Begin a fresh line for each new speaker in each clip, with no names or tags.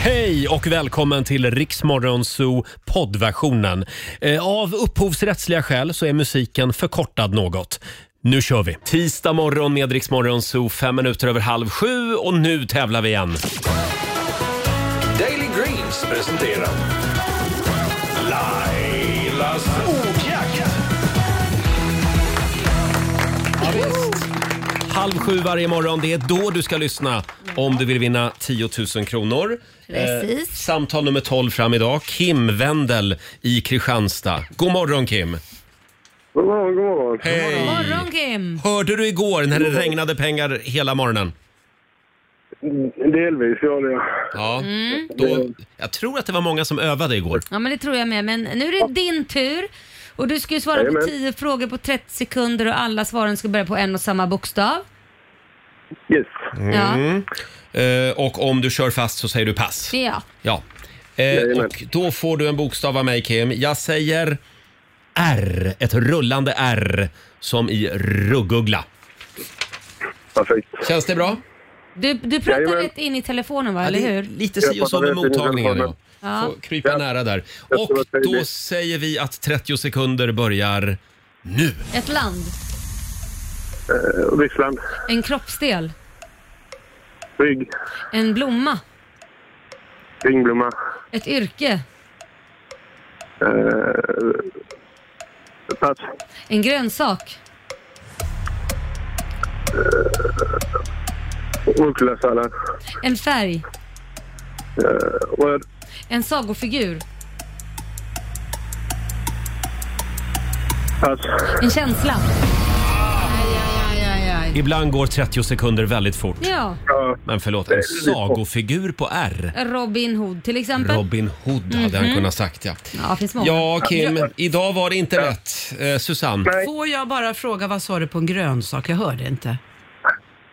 Hej och välkommen till Riksmorgon Zoo poddversionen. Eh, Av upphovsrättsliga skäl så är musiken förkortad något. Nu kör vi! Tisdag morgon med Riksmorgon Zoo, fem minuter över halv sju och nu tävlar vi igen.
Daily Greens presenterar Lailas ordjakt.
Halv sju varje morgon, det är då du ska lyssna om du vill vinna 10 000 kronor. Eh,
Precis.
samtal nummer 12 fram idag, Kim Wendel i Kristianstad. God morgon Kim!
God morgon, god morgon.
Hej!
Morgon Kim!
Hörde du igår när det regnade pengar hela morgonen?
Mm, Delvis, ja det är
Ja, då, jag tror att det var många som övade igår.
Mm. Ja men det tror jag med. Men nu är det din tur. Och du ska ju svara på
Jajamän.
10 frågor på 30 sekunder och alla svaren ska börja på en och samma bokstav.
Yes.
Ja.
Eh, och om du kör fast så säger du pass.
ja.
Ja. Eh,
Jajamän.
och då får du en bokstav av mig Kim. Jag säger R, ett rullande R som i ruggugla.
Perfekt.
Känns det bra?
Du, du pratar
Jajamän.
rätt in i telefonen va, eller
Ja, det är
hur?
Lite si och så med
Jag fattar det,
mottagningen. Ja.
telefonen.
Får krypa nära där.
Jag
Och
tror att det är
då
det.
säger vi att 30 sekunder börjar nu.
Ett land.
Eh, Ryssland,
En kroppsdel.
rygg,
En blomma.
ringblomma,
Ett yrke.
eh, pass,
En grönsak.
Eh, rucolasallad,
En färg.
eh, röd,
En sagofigur.
pass.
En känsla.
Ibland går 30 sekunder väldigt fort.
Ja.
Ja,
Men förlåt, en sagofigur på R.
Robin Hood till exempel.
Robin Hood hade
Mhm.
han kunnat sagt ja.
ja, finns många.
Ja, Kim, idag var det inte rätt. Eh, Susanne,
Nej.
Får jag bara fråga, vad sa du på en grönsak? Jag hörde inte.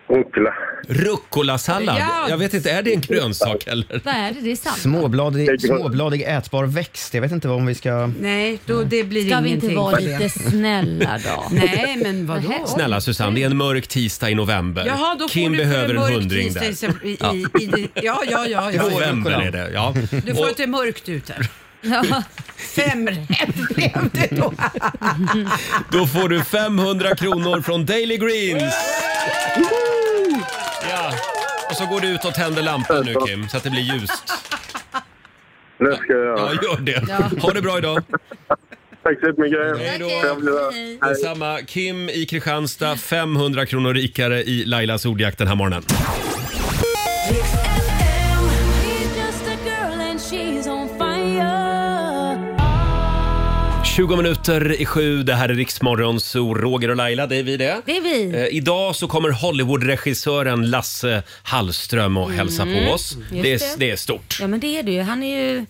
rucola.
rucolasallad.
Ja.
Jag vet inte, är det en grönsak eller?
Vad är det? Det är sant.
Småbladig,
Det går-
småbladig ätbar växt. Jag vet inte vad om vi ska...
Nej, då, det blir
Ska vi
ingenting.
inte vara
på det.
lite snälla då?
Nej, men vadå?
Nähä.
Snälla Susanne, det är en mörk tisdag i november.
Jaha, då
Kim
får du
behöver
för
en
mörkt
hundring
tisdag
där.
i- I, i, i, det- ja, ja, ja. ja, ja.
November är det, ja.
Du får inte mörkt ut här.
Ja.
Fem rätt blev det då.
Då får du 500 kronor från Daily Greens. Ja. Och så går du ut och tänder lampan nu Kim, så att det blir ljust.
Det ska jag göra.
Ja, gör det. Ha det bra idag.
Tack så jättemycket.
Hej då.
Trevlig dag. Hej.
Detsamma. Kim i Kristianstad, 500 kronor rikare i Lailas ordjakt den här morgonen.
She's just a girl and she's on fire.
20 minuter i sju, det här är Riksmorgon, så Roger och Laila, det är vi det.
Det är vi.
Eh, idag så kommer Hollywoodregissören Lasse Hallström och hälsa på oss. Det är,
Mm. det.
det är stort.
Ja men det är du ju. Han är ju,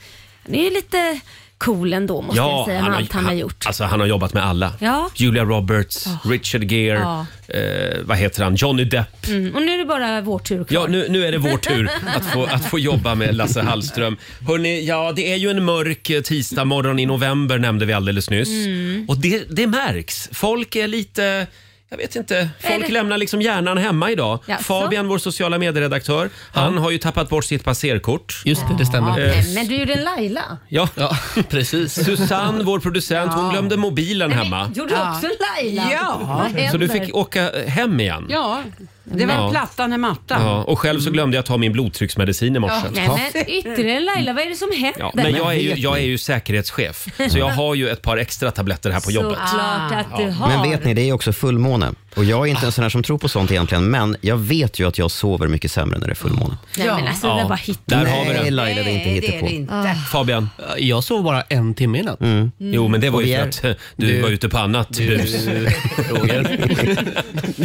han är ju lite cool ändå måste jag säga med allt han har gjort.
Alltså han har jobbat med alla.
Ja.
Julia Roberts, Richard Gere,
Ja.
eh, vad heter han, Johnny Depp.
Mm, och nu är det bara vår tur kvar.
Ja, nu, nu är det vår tur att få, att få jobba med Lasse Hallström. Hörrni, ja, det är ju en mörk eh, tisdagmorgon i november nämnde vi alldeles nyss.
Mm.
Och det, det märks. Folk är lite... Jag vet inte. Folk
det-
lämnar liksom hjärnan hemma idag.
Jaså?
Fabian, vår sociala medieredaktör, han har ju tappat bort sitt passerkort. Eh,
Just det, det
Ja,
stämmer.
men, men du gjorde en Laila.
Ja.
precis.
Susanne, vår producent, hon glömde mobilen hemma.
Gjorde du också en Laila?
Ja.
Vad händer?
Så du fick åka hem igen.
Ja, det var
Ja.
plattan i mattan.
Ja, och själv så glömde jag ta min blodtrycksmedicin i morse.
Nej men ytterligare en Laila, vad är det som händer?
Ja, men jag är, ju, jag är ju säkerhetschef, så jag har ju ett par extra tabletter här på jobbet.
Såklart att du har.
Men vet ni, det är ju också fullmåne. Och jag är inte en sån här som tror på sånt egentligen, men jag vet ju att jag sover mycket sämre när det är fullmåne.
Nej men alltså det
Ja.
där bara hittar
Där har vi
Nej,
det.
Laila, det är inte
Nej, det är
hittepå.
det inte.
Fabian?
Jag sov bara en timme i natt.
Mm. Jo, men det var ju
vi
för
är-
att eh, du, var ute på annat bus.
Roger.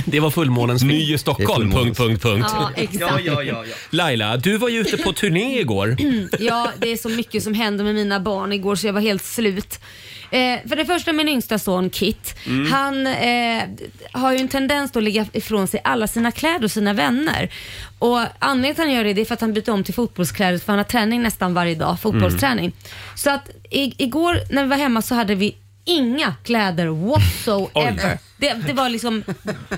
det var fullmånens fel.
Ny i Stockholm,
Det är
punkt, punkt, punkt.
Ja, exakt.
Ja, ja, ja, ja.
Laila, du var ju ute på turné igår.
Ja, det är så mycket som händer med mina barn igår så jag var helt slut. Eh, för det första min yngsta son Kit, han eh, har ju en tendens då att lägga ifrån sig alla sina kläder och sina vänner. Och anledningen till att han gör det, det är för att han byter om till fotbollskläder för han har träning nästan varje dag, fotbollsträning. Så att i, igår när vi var hemma så hade vi inga kläder whatsoever. Det, det var liksom,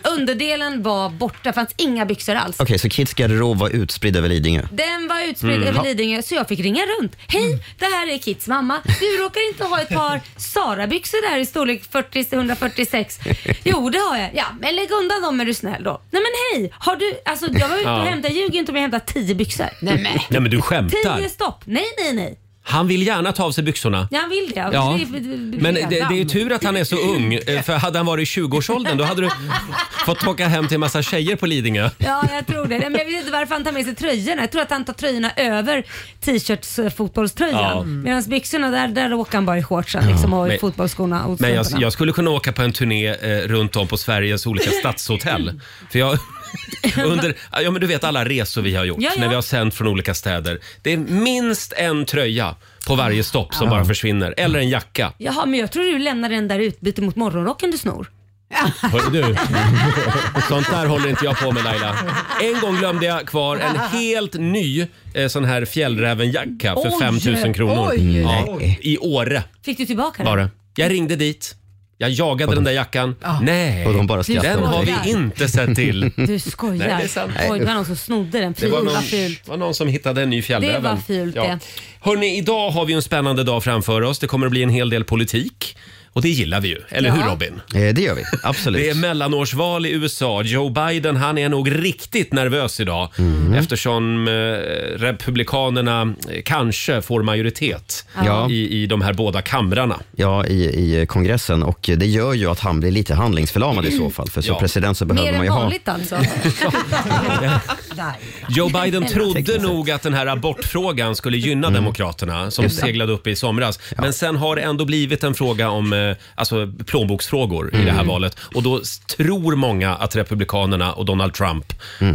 underdelen var borta, det fanns inga byxor alls.
Okej, så Kids garderob var utspridd över Lidingö?
Den var utspridd
Mm.
över Lidingö så jag fick ringa runt. Hej, det här är Kits mamma. Du råkar inte ha ett par Sara-byxor där i storlek 40-146. Jo, det har jag. Ja, men lägg undan dem är du snäll då. Nej men hej, har du, alltså jag var ute och
Ja.
hämtade, jag ljuger inte om jag hämtade 10 byxor. Nej men.
Nej men du skämtar.
10 stopp. Nej, nej, nej.
Han vill gärna ta av sig byxorna.
Jag vill det.
Ja.
Det är- det är-
Men det, det är tur att han är så ung, eh, för hade han varit i 20-årsåldern då hade du fått åka hem till en massa tjejer på Lidingö.
Ja, jag tror det. Nej, Men jag vet inte varför han tar med sig tröjorna. Jag tror att han tar tröjorna över t-shirts eh, fotbollströjan.
Ja.
Medan byxorna, där, där åker han bara i shortsen liksom, och i
Men-
fotbollsskorna och
Men jag,
strumporna.
jag skulle kunna åka på en turné eh, runt om på Sveriges olika stadshotell. För jag, under, ja men du vet alla resor vi har gjort
Ja, ja.
när vi har sänt från olika städer. Det är minst en tröja på varje stopp som bara försvinner. Eller en jacka.
Jaha, men jag tror du lämnar den där i utbyte mot morgonrocken du snor.
Hör du, sånt där håller inte jag på med Laila. En gång glömde jag kvar en helt ny eh, sån här fjällrävenjacka
Oj,
för 5000 kronor.
oj.
Ja, I Åre
Fick du tillbaka den?
var det. Jag ringde dit. Jag jagade den där jackan. Nej,
Och de bara skrattade
den
åt
har
dig.
vi inte sett till.
Du skojar.
Nej, det är sant.
Oj, det var någon som snodde den.
Det
Fy,
var
vad
någon,
fult.
var någon som hittade en ny fjällräven.
Det var fult, det.
Hörrni, idag har vi en spännande dag framför oss. Det kommer att bli en hel del politik. Och det gillar vi ju, eller hur
Ja.
Robin?
Eh, det gör vi, absolut.
Det är mellanårsval i USA. Joe Biden han är nog riktigt nervös idag
Mm.
eftersom eh, Republikanerna eh, kanske får majoritet
Ja.
i, i de här båda kamrarna.
Ja, i, i kongressen och det gör ju att han blir lite handlingsförlamad i så fall. För som
Ja.
president så behöver
Mer
man
än
ju ha...
vanligt alltså.
Joe Biden trodde nog att den här abortfrågan skulle
Mm.
gynna Demokraterna som seglade upp i somras. Men sen har det ändå blivit en fråga om eh, alltså, plånboksfrågor i det
Mm.
här valet. Och då s- tror många att Republikanerna och Donald Trump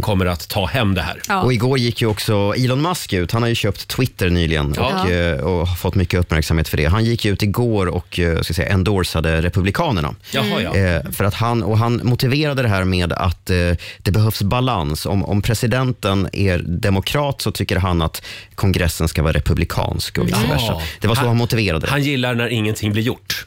kommer att ta hem det här.
Ja.
Mm. Och igår gick ju också Elon Musk ut. Han har ju köpt Twitter nyligen
Ja.
och, eh, och har fått mycket uppmärksamhet för det. Han gick ut igår och eh, ska jag säga, endorsade Republikanerna.
Jaha, ja.
Eh, för att han, och han motiverade det här med att eh, det behövs balans. Om, om presidenten är demokrat så tycker han att kongressen ska vara republikansk och vice
Mm. Ja.
versa. Det var så
Han-
han, motiverade det.
Han gillar när ingenting blir gjort.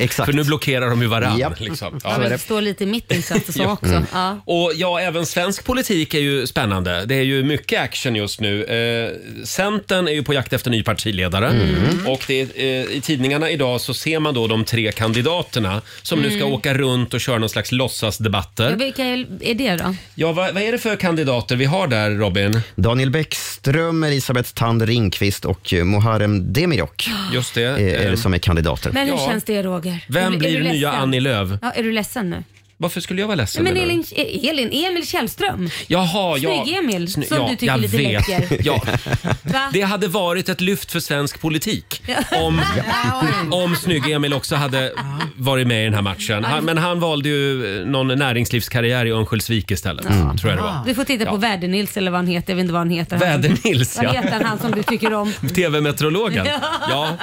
Exakt.
För nu blockerar de ju varann.
Japp.
Liksom.
Han
Ja.
vill stå lite i mitten så att det så också.
Mm.
Ja.
Och ja, även svensk politik är ju spännande. Det är ju mycket action just nu. Eh, Centern är ju på jakt efter ny partiledare.
Mm.
Och det, är, eh, i tidningarna idag så ser man då de tre kandidaterna som nu
Mm.
ska åka runt och köra någon slags
Ja,
låtsasdebatter.
Vilka är är det då?
Ja, vad, vad är det för kandidater vi har där, Robin?
Daniel Bäckström, Elisabeth Tand Ringqvist och eh, Muharrem Demirok
Just det.
eh, är
eh,
det som är kandidater.
Men hur
Ja.
känns det Roger? Är du-
Vem
är
blir
du
nya
ledsen?
Annie Lööf?
Ja, är du ledsen nu?
Varför skulle jag vara ledsen?
Nej, men
menar du?
Elin, E- Elin, Emil Källström.
Jaha, ja.
Snygg-Emil,
Sny-
som du tycker är lite läcker.
Ja.
Va?
Det hade varit ett lyft för svensk politik om, om Snygg-Emil också hade varit med i den här matchen. Han, men han valde ju eh, någon näringslivskarriär i Örnsköldsvik istället. Tror jag det var.
Du får titta på Väder-Nils eller vad han heter. Jag vet inte vad han heter. Han-
Väder-Nils,
Vad
ja.
heter han, han som du tycker om?
TV-meteorologen. Ja.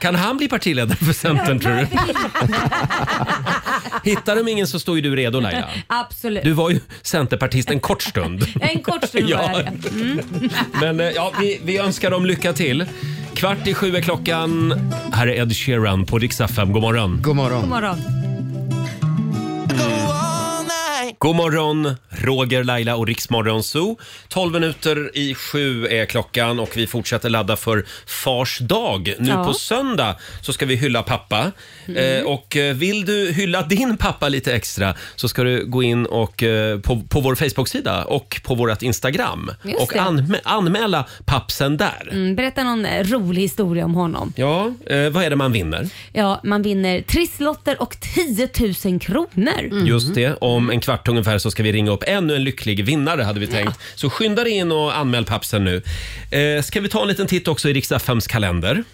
Kan han bli partiledare för Centern tror du? Hittar de ingen så står ju du redo Laila.
Absolut.
Du var ju Centerpartist en kort stund.
En kort stund
Ja.
var Mm. jag det.
Men eh, ja, vi, vi önskar dem lycka till. Kvart i sju är klockan. Här är Ed Sheeran på Dix FM. God morgon.
God morgon.
God morgon.
God morgon, Roger, Laila och Riksmorgon Zoo. 12 minuter i sju är klockan och vi fortsätter ladda för Fars dag. Nu
Ja. Mm.
på söndag så ska vi hylla pappa. Eh, och eh, vill du hylla din pappa lite extra så ska du gå in och, eh, på, på vår Facebook-sida och på vårt Instagram
Just
och
det.
anmä- anmäla pappsen där.
Mm, Berätta någon eh, rolig historia om honom.
Ja, eh, vad är det man vinner?
Ja, man vinner trisslotter och 10 000 kronor.
Mm. Just det. Om en kvart ungefär så ska vi ringa upp ännu en lycklig vinnare hade vi tänkt. Så skynda dig in och anmäl pappsen nu. Eh, ska vi ta en liten titt också i Riks-FMs kalender?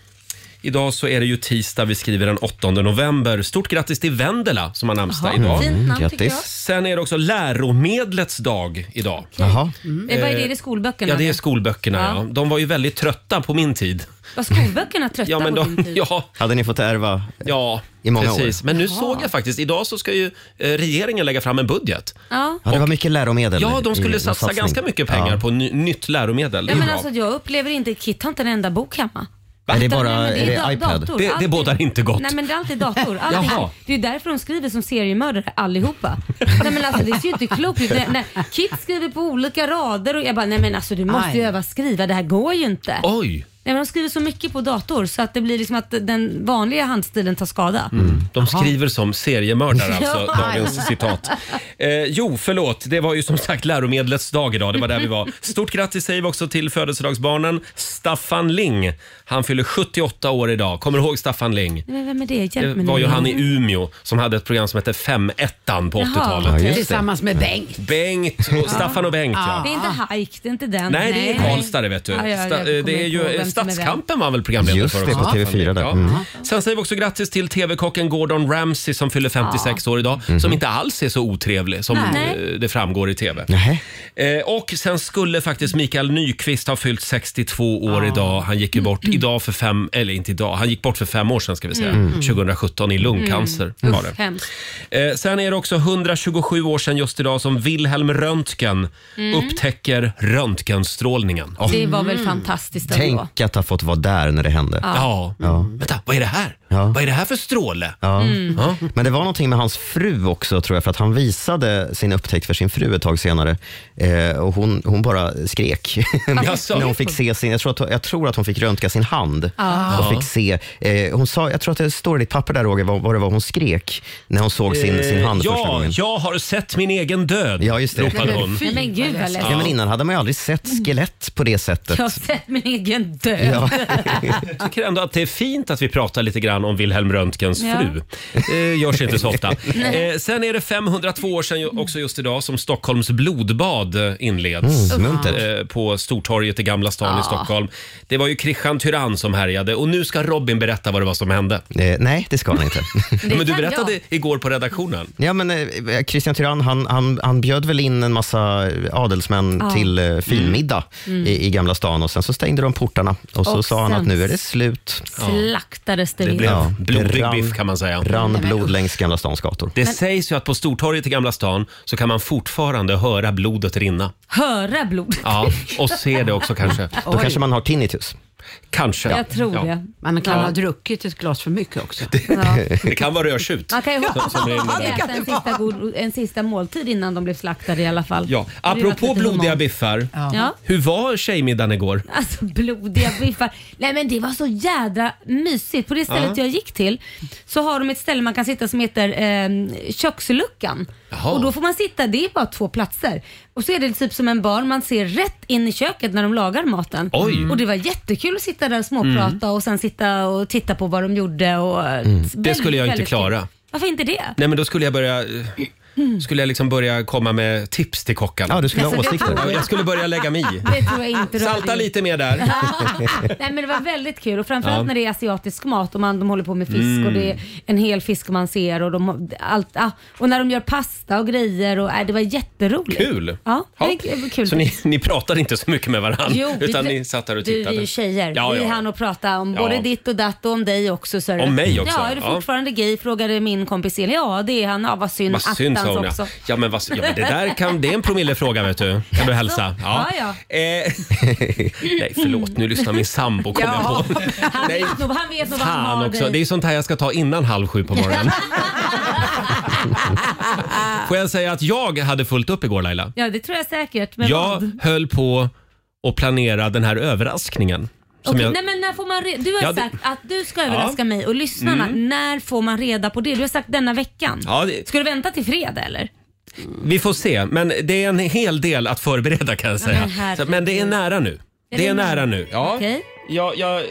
Idag så är det ju tisdag, vi skriver den 8 november. Stort grattis till Vendela som har namnsdag idag.
Fint namn tycker jag.
grattis.
Sen är det också läromedlets dag idag.
Jaha.
Eh, Vad är det? Är det skolböckerna?
Ja, det är
eller?
skolböckerna.
Ja.
Ja. De var ju väldigt trötta på min tid.
Var skolböckerna trötta
Ja, men
på din
de,
tid?
ja,
Hade ni fått ärva?
ja
I många år.
precis. Men nu såg jag faktiskt, idag så ska ju eh, regeringen lägga fram en budget.
Ja.
Ja, det var mycket läromedel.
Ja, de
i-
skulle
i
satsa
satsning.
ganska mycket pengar
Ja.
på ny, nytt läromedel.
Ja,
Det är
men
bra.
alltså, jag upplever inte, Kit har inte en enda bok hemma.
Är det bara
Nej, men
är det
da-
iPad?
dator.
Det- det
Alltid-
bådar inte gott.
Nej men det är alltid dator. Allting.
Jaha.
Det är ju därför de skriver som seriemördare allihopa. nej men alltså det ser ju inte klokt ut. När- När Kit skriver på olika rader och jag bara nej men alltså du måste ju
Aj.
öva skriva, det här går ju inte.
Oj!
Nej men de skriver så mycket på dator så att det blir liksom att den vanliga handstilen tar skada.
De skriver som seriemördare alltså,
Ja.
dagens citat. Eh, jo, förlåt. Det var ju som sagt läromedlets dag idag. Det var där vi var. Stort grattis säger vi också till födelsedagsbarnen Staffan Ling. Han fyller 78 år idag. Kommer du ihåg Staffan Ling?
Nej, men vem är det? Hjälp
Det
mig
Eh, var
nu.
ju han i Umeå som hade ett program som hette 5-1 på
Jaha.
80-talet.
Ja, just det.
Tillsammans med Bengt.
Bengt och Staffan och Bengt ja.
Det är inte Hike, det är inte den.
Nej, det är Karlstad det vet du.
Ja, ja, jag
Sta- eh,
kommer
det är
inte ihåg
ju
vem som är
Stadskampen var väl programledare
Just
för
det,
också.
på TV4 där.
Ja.
Mm.
Sen säger vi också grattis till TV-kocken Gordon Ramsay som fyller 56 år idag.
Mhm.
Som inte alls är så otrevlig som
Nej.
eh, det framgår i TV.
Nähä.
Eh, och sen skulle faktiskt Mikael Nyqvist ha fyllt 62 år idag. Han gick ju bort
Mm.
idag för fem, eller inte idag, han gick bort för fem år sedan ska vi säga. 2017 i lungcancer var det.
Mm. Usch, Mm. hemskt.
Eh, sen är det också 127 år sedan just idag som Wilhelm Röntgen upptäcker röntgenstrålningen.
Mm. Det var väl fantastiskt ändå.
Mm. Tänk att ha fått vara där när det hände.
Ja. Mm. Vänta, vad är det här?
Ja.
Vad är det här för stråle?
Ja.
Mm.
Ja.
Men det var någonting med hans fru också tror jag, för att han visade sin upptäckt för sin fru ett tag senare eh, och hon, hon bara skrek
Jaså?
när hon fick se sin, jag tror att, jag tror att hon fick röntga sin hand
Ah.
och fick se, eh, hon sa, jag tror att det står i ditt papper där Roger, vad, vad det var hon skrek när hon såg sin, sin hand första
Eh, Ja,
gången.
jag har sett min egen död,
Ja, just det.
ropade hon.
Nej, men gud vad
Ja,
läskigt.
men innan hade man ju aldrig sett skelett på det sättet.
Jag har sett min egen död.
Ja.
Jag tycker ändå att det är fint att vi pratar lite grann om Wilhelm Röntgens
Ja.
fru. Det görs inte så ofta. Eh, sen är det 502 år sedan ju- också just idag som Stockholms blodbad eh, inleds.
Mm, muntert.
eh, på Stortorget i Gamla stan i Stockholm. Det var ju Christian Tyrann som härjade och nu ska Robin berätta vad det var som hände.
Eh, nej, det ska han inte.
Det
Men du
kan
berättade
jag.
igår på redaktionen.
Ja, men eh, Christian Tyrann, han, han, han bjöd väl in en massa eh, adelsmän till eh, finmiddag i, i Gamla stan och sen så stängde de portarna och så
Och
sa han att
sen-
nu är det slut.
Slaktades det,
Det
vilt.
blev
Ja,
blodig
det rann-
biff kan man säga. Mm.
Rann blod längs Gamla stans gator.
Det sägs ju att på Stortorget i Gamla stan så kan man fortfarande höra blodet rinna.
Höra blod.
Ja, och se det också kanske.
Då kanske man har tinnitus.
Kanske.
Jag tror
Ja.
det.
Man kan ha druckit ett glas för mycket också.
Ja.
Det kan vara rödtjut.
Man kan ju hoppas
Som
att
det är
de
med
hade
det.
ätit en sista, god, en sista måltid innan de blev slaktade i alla fall.
Ja,
Det hade ju varit
apropå
lite
blodiga
humant.
biffar.
Ja.
Hur var tjejmiddagen igår?
Alltså blodiga biffar. Nej men det var så jädra mysigt. På det stället jag gick till så har de ett ställe man kan sitta som heter eh, köksluckan.
Jaha.
Och då får man sitta, det är bara två platser. Och så är det typ som en bar, man ser rätt in i köket när de lagar maten.
Oj. Mm.
Och det var jättekul att sitta där och småprata och sen sitta och titta på vad de gjorde. Och,
Det skulle jag inte
Mm. väldigt
klara.
kul. Varför inte det?
Nej men då skulle jag börja... Skulle jag liksom börja komma med tips till
Ja,
kockarna.
du skulle ha
Alltså, Mm. det
åsikter.
Jag skulle börja lägga mig i.
Det tror jag inte. du har
Salta
gjort.
lite mer där.
Nej men det var väldigt kul och framförallt
Ja. Mm.
när det är asiatisk mat och man, de håller på med fisk och det är en hel fisk man ser och, de, allt, ah, och när de gör pasta och grejer och äh, det var jätteroligt.
Kul!
Ja, det är kul.
Så ni, ni pratade inte så mycket med varandra
Jo, vi-
utan ni satt där och
Du,
tittade?
vi är ju tjejer.
Ja,
Vi
ja.
hann och prata om
Ja.
både ditt och datt och om dig också. Sir.
Om mig också?
Ja, är du
Ja.
fortfarande gay? Frågade min kompis Elin. Ja, det är han. Ja, vad synd.
Vad synd
Attans
sa hon ja.
också.
ja, men vad, ja men det där kan, det är en promillefråga vet du. Kan du hälsa?
Ja,
Eh, nej förlåt, nu lyssnar min sambo kom
Jaha.
jag på.
Han
Nej.
vet nog, han vet nog vad han
Fan
har
också,
dig.
det är sånt här jag ska ta innan halv sju på morgonen. Får jag säga att jag hade fullt upp igår Laila?
Ja, det tror jag säkert. Men
jag
vad?
höll på att planera den här överraskningen. Som
Okej,
jag,
nej, men när får man re- du har
Ja, det-
sagt att du ska överraska mig och lyssnarna. När får man reda på det? Du har sagt denna veckan.
ja, det,
Ska du vänta till fredag eller?
Vi får se, men det är en hel del att förbereda kan jag säga.
men herregud.
Så, men det är nära nu. Det är nära nu. Ja,
Okej.
jag, jag,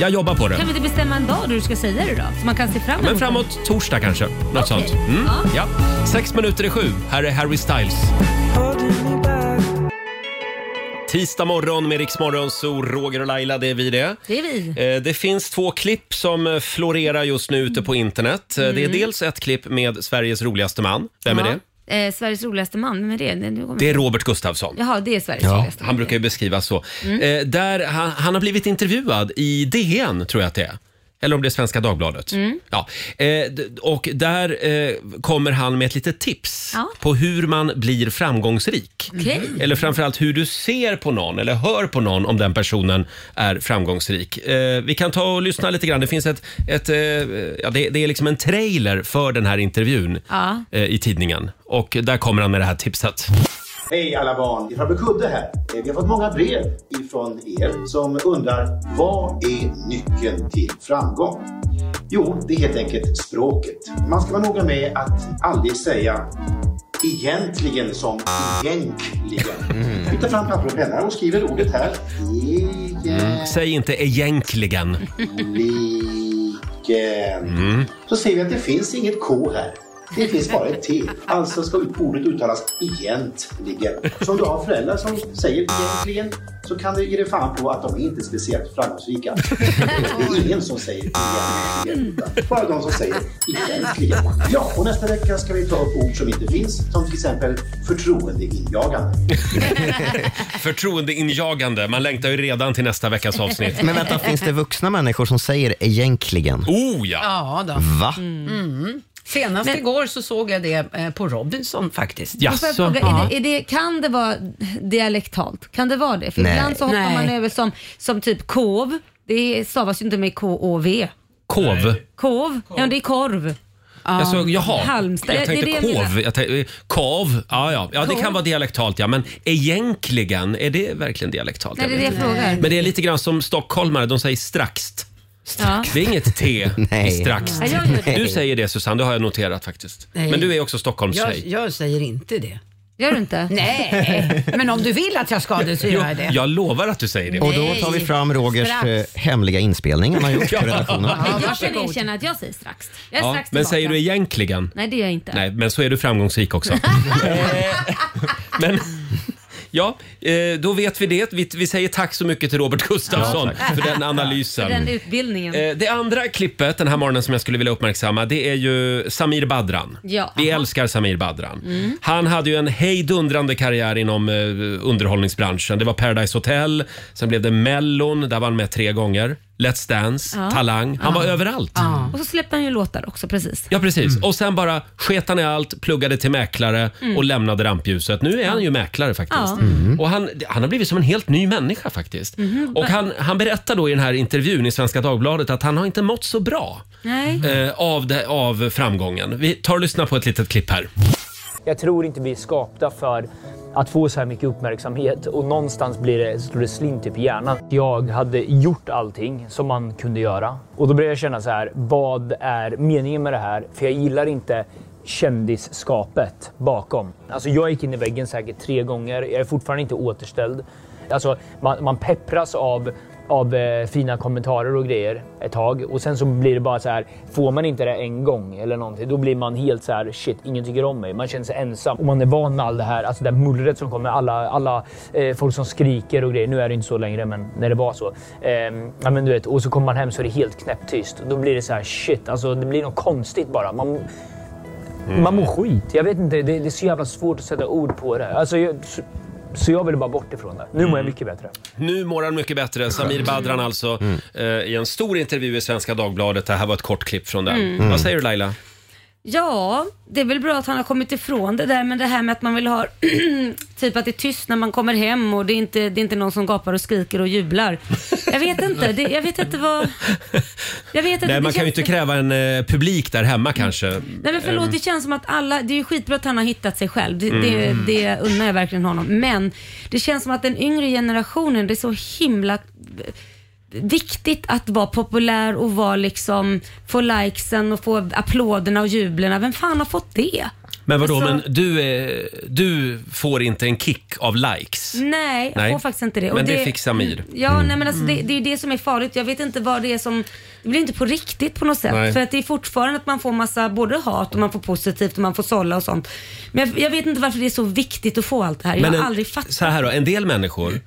jag jobbar på det.
Kan vi inte bestämma en dag då du ska säga det då? Så man kan se fram emot
Men
det.
framåt torsdag kanske. Något sånt. Mm. Ja. Sex minuter i sju. Här är Harry Styles. Tisdag morgon med Riksmorgon, så Roger och Laila, det är vi det.
Det är vi.
Eh, Det finns två klipp som eh, florerar just nu ute på internet. Eh, Det är dels ett klipp med Sveriges roligaste man. Vem är det?
Ja. Eh, Sveriges roligaste man, vem är det? det, det,
Det är Robert Gustafsson.
Jaha, det är Sveriges
Ja,
roligaste man.
han
Mm.
brukar ju beskrivas så. Eh, där, han, han har blivit intervjuad i DN, tror jag att det är. Eller om det är Svenska Dagbladet.
Mm.
Ja. Eh, d- och där eh, kommer han med ett litet tips
Ja.
på hur man blir framgångsrik.
Okej.
Mm-hmm. Eller framförallt hur du ser på någon eller hör på någon om den personen är framgångsrik. Eh, vi kan ta och lyssna lite grann. Det finns ett, ett eh, ja, det, det är liksom en trailer för den här intervjun
Ja.
eh, i tidningen. Och där kommer han med det här tipset.
Hej alla barn, Farbror Kudde här. Eh, Vi har fått många brev ifrån er som undrar vad är nyckeln till framgång? Jo, det är helt enkelt språket. Man ska vara noga med att aldrig säga egentligen som egentligen. Mm. Ta fram papper och penna och skriv ordet här.
Mm. Säg inte egentligen. Mm.
Egentligen. Så ser vi att det finns inget K här. Det finns bara ett T. Alltså ska ordet uttalas egentligen. Så om du har föräldrar som säger egentligen så kan du ge dig fan på att de inte är speciellt framgångsrika. Det är ingen som säger egentligen. utan Bara de som säger egentligen. Ja, och nästa vecka ska vi ta upp ord som inte finns. Som till exempel förtroendeinjagande.
Förtroendeinjagande. Man längtar ju redan till nästa veckas avsnitt.
Men vänta, finns det vuxna människor som säger egentligen?
Oh ja!
Ja, då. Mm.
Va?
Senast igår så såg jag det eh, på Robinson faktiskt.
Får jag
Jaså?
fråga, är det, är det, kan det vara dialektalt? Kan det vara det? För
Nej.
ibland så hoppar
Nej.
man över som, som typ kov. Det stavas ju inte med K-O-V.
Kov?
Kov? Ja, det är korv.
Alltså, jaha.
Halmstad.
Jag
Det- det
tänkte
är det jag
kov. Jag tänkte, eh, kav. Ja, ja. ja det
Kov.
kan vara dialektalt, ja. Men egentligen, är det verkligen dialektalt?
Nej,
Jag
det är det
vet
jag
inte.
frågar.
Men det är lite grann som stockholmare, de säger straxt.
Ja.
Det är inget T i
Nej.
straxt.
Ah. Ja, jag gör det.
Du säger det Susanne, det har jag noterat faktiskt.
Nej.
Men du är också Stockholmstjej.
Jag, jag säger inte det.
Gör du inte?
Nej, men om du vill att jag ska det så gör jag
jag,
det.
jag lovar att du säger det.
Och då tar vi fram Rogers
Strax.
eh, hemliga inspelning han har gjort för redaktionen.
Men jag kan
varsågod.
erkänna att jag säger strax. Jag är
Ja,
strax
men
tillbaka.
säger du egentligen?
Nej, det gör jag inte.
Nej, men så är du framgångsrik också. Eh, men, ja, eh, då vet vi det. Vi, vi säger tack så mycket till Robert Gustafsson för den analysen.
Den utbildningen.
Eh, Det andra klippet den här morgonen som jag skulle vilja uppmärksamma det är ju Samir Badran.
Ja. Mm.
Vi
Aha.
älskar Samir Badran. Han hade ju en hejdundrande karriär inom eh, underhållningsbranschen. Det var Paradise Hotel, sen blev det Mellon, där var han med tre gånger. Let's Dance,
Ja. Mm.
Talang. Han var överallt. Mm. Ja,
Och så släppte han ju låtar också precis.
precis. Och sen bara sket han i allt, pluggade till mäklare och lämnade rampljuset. Nu är han ju mäklare faktiskt.
Mm. Ja. Mm.
Och han, han har blivit som en helt ny människa faktiskt.
Mm-hmm.
Och han, han berättar då i den här intervjun i Svenska Dagbladet att han har inte mått så bra
Nej.
eh, av, det, av framgången. Vi tar och lyssnar på ett litet klipp här.
Jag tror inte vi är skapta för att få så här mycket uppmärksamhet och någonstans blir det, slår det slint typ i hjärnan. Jag hade gjort allting som man kunde göra och då började jag känna så här, vad är meningen med det här? För jag gillar inte kändisskapet bakom. Alltså jag gick in i väggen säkert tre gånger, jag är fortfarande inte återställd. Alltså man, man peppras av av eh, fina kommentarer och grejer ett tag och sen så blir det bara så här. Får man inte det en gång eller någonting, då blir man helt så här shit, ingen tycker om mig. Man känner sig ensam och man är van med all det här, alltså det här mullret som kommer, alla, alla eh, folk som skriker och grejer. Nu är det inte så längre, men när det var så. Ehm, ja, men du vet, och så kommer man hem så är det helt knäpptyst. Då blir det så här shit, alltså det blir något konstigt bara. Man,
Mm.
man mår skit. Jag vet inte, det, det är så jävla svårt att sätta ord på det. Alltså, jag, så, så jag vill bara bort ifrån det. Nu mår jag mycket bättre.
Nu mår han mycket bättre. Samir Badran alltså
Mm.
eh, i en stor intervju i Svenska Dagbladet. Det här var ett kort klipp från den.
Mm.
Vad säger du Laila?
Alltså, Ja, det är väl bra att han har kommit ifrån det där, men det här med att man vill ha typ att det är tyst när man kommer hem och det är inte, det är inte någon som gapar och skriker och jublar. Jag vet inte, det, jag vet inte vad... Jag vet inte,
Nej,
det
man kan ju
känns-
inte kräva en eh, publik där hemma kanske.
Nej men
Ehm.
förlåt, det känns som att alla, det är ju skitbra att han har hittat sig själv. Det, det, det unnar jag verkligen honom. Men det känns som att den yngre generationen, det är så himla viktigt att vara populär och vara liksom, få likesen och få applåderna och jublerna. Vem fan har fått det?
Men vadå,
Alltså-
men du, eh, du får inte en kick av likes?
Nej, jag
Nej.
får faktiskt inte det.
Men det fick Samir.
Ja, nej, men
Mm.
alltså, det, det är ju det som är farligt. Jag vet inte vad det är som... Det blir inte på riktigt på något sätt.
Nej.
För att det är fortfarande att man får massa både hat och man får positivt och man får sålla och sånt. Men jag, jag vet inte varför det är så viktigt att få allt det här. Jag
Men
har
en,
aldrig fattat.
så här då, en del människor